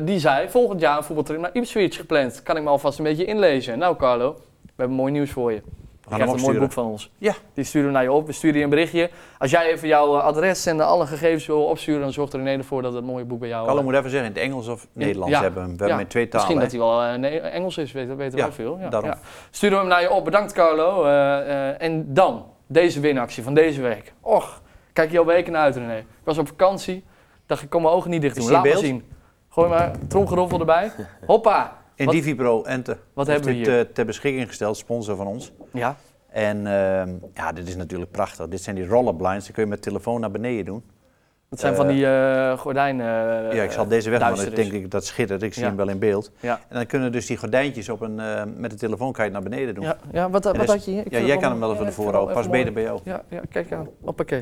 die zei volgend jaar een voetbaltrip naar Ipswich gepland. Kan ik me alvast een beetje inlezen. Nou Carlo, we hebben mooi nieuws voor je. Je hem krijgt een mooi opsturen. boek van ons. Ja. Die sturen we naar je op, we sturen je een berichtje. Als jij even jouw eh, adres en alle gegevens wil opsturen, dan zorgt René ervoor dat het mooie boek bij jou... Carlo eh, moet even zeggen, in het Engels of Nederlands ja, hebben we hem. We hebben ja. hem in twee talen. Misschien hè. dat hij wel eh, nee, Engels is, weet, weten we Ja, ook veel. daarom. Sturen we hem naar je op. Bedankt Carlo. Eh, eh, en dan, deze winactie van deze week. Och, kijk je al weken naar uit René. Ik was op vakantie, dacht ik kon mijn ogen niet dicht Is doen. hij Laat in maar beeld? zien. Gooi maar tromgeroffel erbij. Hoppa. In Wat- DiviPro Ente. Wat hebben we dit hier? eh, ter beschikking gesteld, sponsor van ons. Ja, En ehm, ja, dit is natuurlijk prachtig. Dit zijn die rollerblinds, die kun je met telefoon naar beneden doen. dat zijn van Eh, die eh gordijnen. eh, ja, ik zal deze weg, maar duister ik denk ik dat schittert. Ik zie Ja. hem wel in beeld. Ja. En dan kunnen dus die gordijntjes op een, eh, met de telefoon kan je het naar beneden doen. Ja, ja wat, En wat dus- had je hier? Ik ja, vind jij het kan hem wel even ja, naar ik vind voren het wel houden. Past even beter bij jou. mooi. Ja, ja, kijk aan. Hoppakee.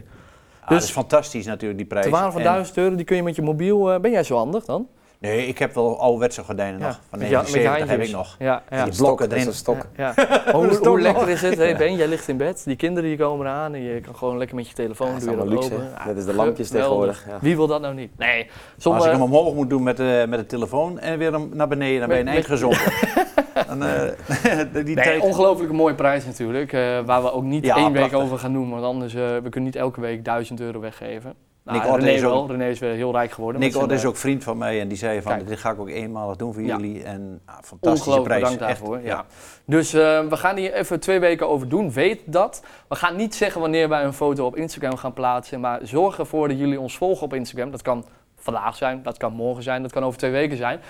Ah, dat Dus- is fantastisch natuurlijk, die prijs. Te waarde van 1000 euro, die kun je met je mobiel... eh, ben jij zo handig dan? Nee, ik heb wel ouderwetse gordijnen nog. Van met je- met je 79 heb ik handjes. nog. dus. Ja, ja. Die blokken dat is erin. een stok. Ja. hoe, Dat is hoe toch lekker nog. is het? Hey ben, jij ligt in bed, die kinderen die komen eraan en je kan gewoon lekker met je telefoon Ja, dat is doe je allemaal dat luxe, open. hè? Ja, Dat is de lampjes geweldig. tegenwoordig, ja. Wie wil dat nou niet? Nee, Maar als ik sommige... hem omhoog moet doen met, eh, met de telefoon en weer hem naar beneden, dan ben je een Met- eind gezonken. Dan, eh, die Nee, tijd... ongelooflijke mooie prijs natuurlijk, eh, waar we ook niet Ja, één prachtig. week over gaan noemen, want anders eh, we kunnen niet elke week 1000 euro weggeven. Nou, Nick Otten René is ook- wel, René is weer heel rijk geworden. Nick met Orde zijn, eh, is ook vriend van mij en die zei van Kijk. dit ga ik ook eenmalig doen voor Ja. jullie. En ah, eh, fantastische Ongelooflijk prijs. bedankt daarvoor. ja. Dus eh, we gaan hier even twee weken over doen, weet dat. We gaan niet zeggen wanneer wij een foto op Instagram gaan plaatsen, maar zorg ervoor dat jullie ons volgen op Instagram. Dat kan vandaag zijn, dat kan morgen zijn, dat kan over twee weken zijn.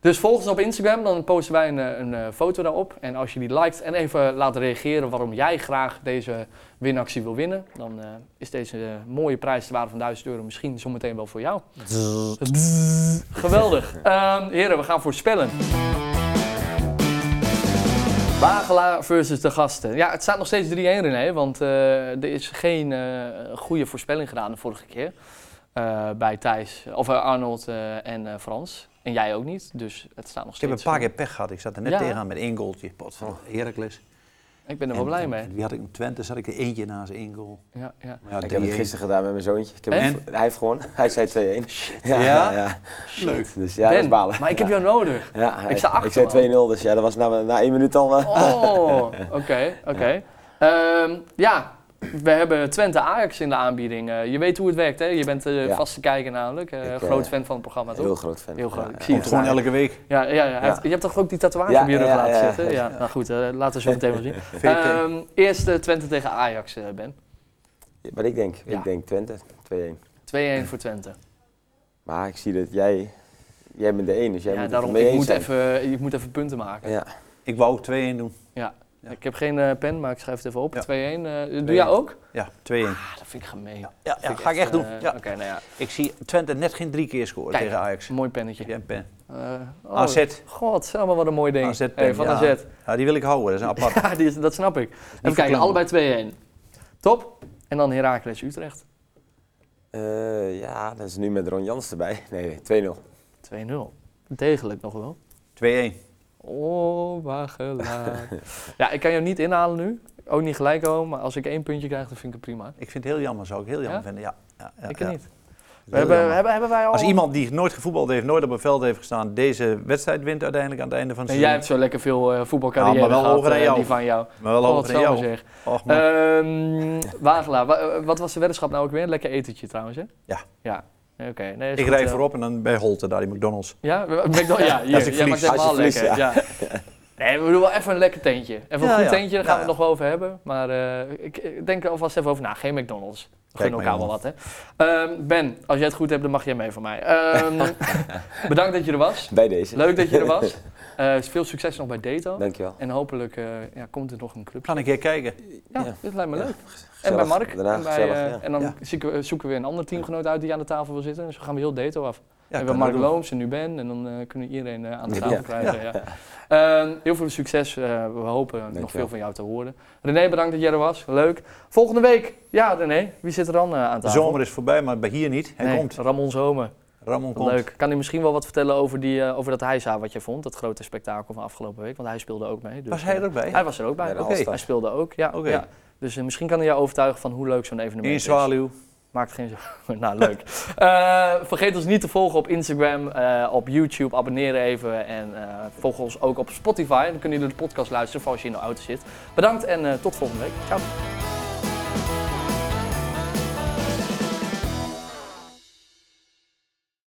Dus volg ons op Instagram, dan posten wij een, eh, een eh, foto daarop. En als je die liked en even laat reageren waarom jij graag deze winactie wil winnen, dan eh, is deze eh, mooie prijs te waarde van 1000 euro misschien zometeen wel voor jou. Geweldig. Ehm, heren, we gaan voorspellen. Wagelaar versus de gasten. Ja, het staat nog steeds 3-1 René, want eh, er is geen eh, goede voorspelling gedaan de vorige keer. Eh, bij Thijs, of eh, Arnold eh, en eh, Frans. En jij ook niet, dus het staat nog Ik steeds... eh, heb een paar keer pech gehad. Ik zat er net Ja. tegenaan met één goaltje. Pot van Heracles. Ik ben er wel En- blij en mee. Wie had ik hem? Twente zat ik er eentje naast één goal. Ja, ja. Maar ja, Ik heb het 3-1. gisteren gedaan met mijn zoontje. Ik heb En? hem- hij heeft gewonnen. Hij zei 2-1. Ja? Leuk. Dus ja, dat Ben, is balen. maar ik heb ja. jou nodig. Ja, hij- ik sta achter Ik zei al. 2-0, dus ja, dat was na, na één minuut al... eh, Oh, oké, oké. Ehm, ja, we hebben Twente Ajax in de aanbieding. Eh, je weet hoe het werkt, hè? Je bent eh Ja. vaste kijker namelijk. Eh, Ik, eh, groot fan van het programma, toch? heel groot fan. Heel groot. Ja, Ik ja. zie Komt het. gewoon daar. elke week. Ja, ja, ja. Hij heeft- Ja. je hebt toch ook die tatoeage Ja, op je rug ja, laten ja, ja. zitten? Ja, nou goed, eh, laten we zo meteen wel zien. VT. Ehm eerst eh, Twente tegen Ajax, eh, Ben. Maar ik denk, Ja. ik denk Twente, 2-1. 2-1 voor Twente. Maar ik zie dat jij... Jij bent de één, dus jij Ja, moet het daarom, ermee ik eens moet, zijn. even, ik moet even punten maken. Ja. Ik wou ook 2-1 doen. Ja. Ik heb geen eh, pen, maar ik schrijf het even op. 2-1. eh, doe jij ook? Ja, 2-1. Ah, dat vind ik gemeen. Ja, Vind ja, ik ga ik echt doen. eh, Ja. Oké, nou ja. Ik zie Twente net geen drie keer scoren Kijk, tegen Ajax. Mooi pennetje. Ja, een pen. Eh, oh, AZ. God, maar wat een mooi ding. AZ pen, Hey, van ja. AZ. Ja, die wil ik houden, dat is een apart. Ja, die is- dat snap ik. Even kijken, verklaarbaar. allebei 2-1. Top. En dan Heracles Utrecht. Eh, ja, dat is nu met Ron Jans erbij. Nee, nee 2-0. 2-0. Degelijk nog wel. 2-1. Oh, wagelaar. ja, ik kan jou niet inhalen nu. Ook niet gelijk komen, maar als ik één puntje krijg, dan vind ik het prima. Ik vind het heel jammer, zou ik heel jammer Ja? vinden. Ja, ja, ja, ik kan ja. niet. We Heel hebben, jammer. hebben, hebben wij al... Als iemand die nooit gevoetbald heeft, nooit op een veld heeft gestaan, deze wedstrijd wint uiteindelijk aan het einde van het Nee, jij seizoen. hebt zo lekker veel eh voetbalcarrière Ja, maar wel gehad, hoger dan eh, jou. die van jou. Maar wel Oh, hoger wat dan zou jou. maar zeggen. Eh, Och, man. Ehm, Wagelaar, wa- eh, wat was de weddenschap nou ook weer? Lekker etentje trouwens, hè? Ja. Ja, oké. Nee, is ik goed, rij eh. voorop en dan bij Holte, daar die McDonald's. Ja, McDonald's, ja, hier, Als ik jij verlies. maakt helemaal Als je verliest, lekker. Ja. Nee, we doen wel even een lekker tentje. Even een Ja, goed ja. tentje, daar gaan Ja, we het nog wel over hebben. Maar eh, ik, ik denk er alvast even over na. Geen McDonald's. We Kijk gunnen maar, elkaar wel wat, hè. Ehm, ben, als jij het goed hebt, dan mag jij mee van mij. Ehm, bedankt dat je er was. Bij deze. Leuk dat je er was. Eh, veel succes nog bij Dato. Dankjewel. En hopelijk eh, ja, komt er nog een club. Gaan een keer kijken. Ja, Ja. dit lijkt me Ja, leuk. en gezellig. bij Mark. Daarna en, bij, gezellig, eh, ja. en dan Ja. zieken we- zoeken we weer een ander teamgenoot uit die aan de tafel wil zitten. Dus we gaan we heel Dato af. Ja, en we kan hebben Mark ook. Looms en nu Ben. En dan eh, kunnen we iedereen eh, aan de tafel Ja. krijgen. Ja. Ehm, heel veel succes. eh, we hopen nog veel wel. van jou te horen. René, bedankt dat jij er was. Leuk. Volgende week. Ja, René. Wie zit er dan eh, aan De tafel? zomer is voorbij, maar bij hier niet. Hij Nee, komt. Ramon Zomer. Ramon komt. Leuk. Kan hij misschien wel wat vertellen over, die, eh, over dat hijsa wat je vond? Dat grote spektakel van afgelopen week. Want hij speelde ook mee. Dus, Was hij er eh, ook bij? Hij was er ook bij. Bij de Oké. Alstad. Hij speelde ook. Ja, Oké. ja. Dus eh, misschien kan hij jou overtuigen van hoe leuk zo'n evenement In is. Zwaluw. Maakt geen zorgen. nou, leuk. Eh, vergeet ons niet te volgen op Instagram, eh, op YouTube. Abonneer even. En eh, volg ons ook op Spotify. Dan kunnen jullie de podcast luisteren, voor als je in de auto zit. Bedankt en eh, tot volgende week. Ciao.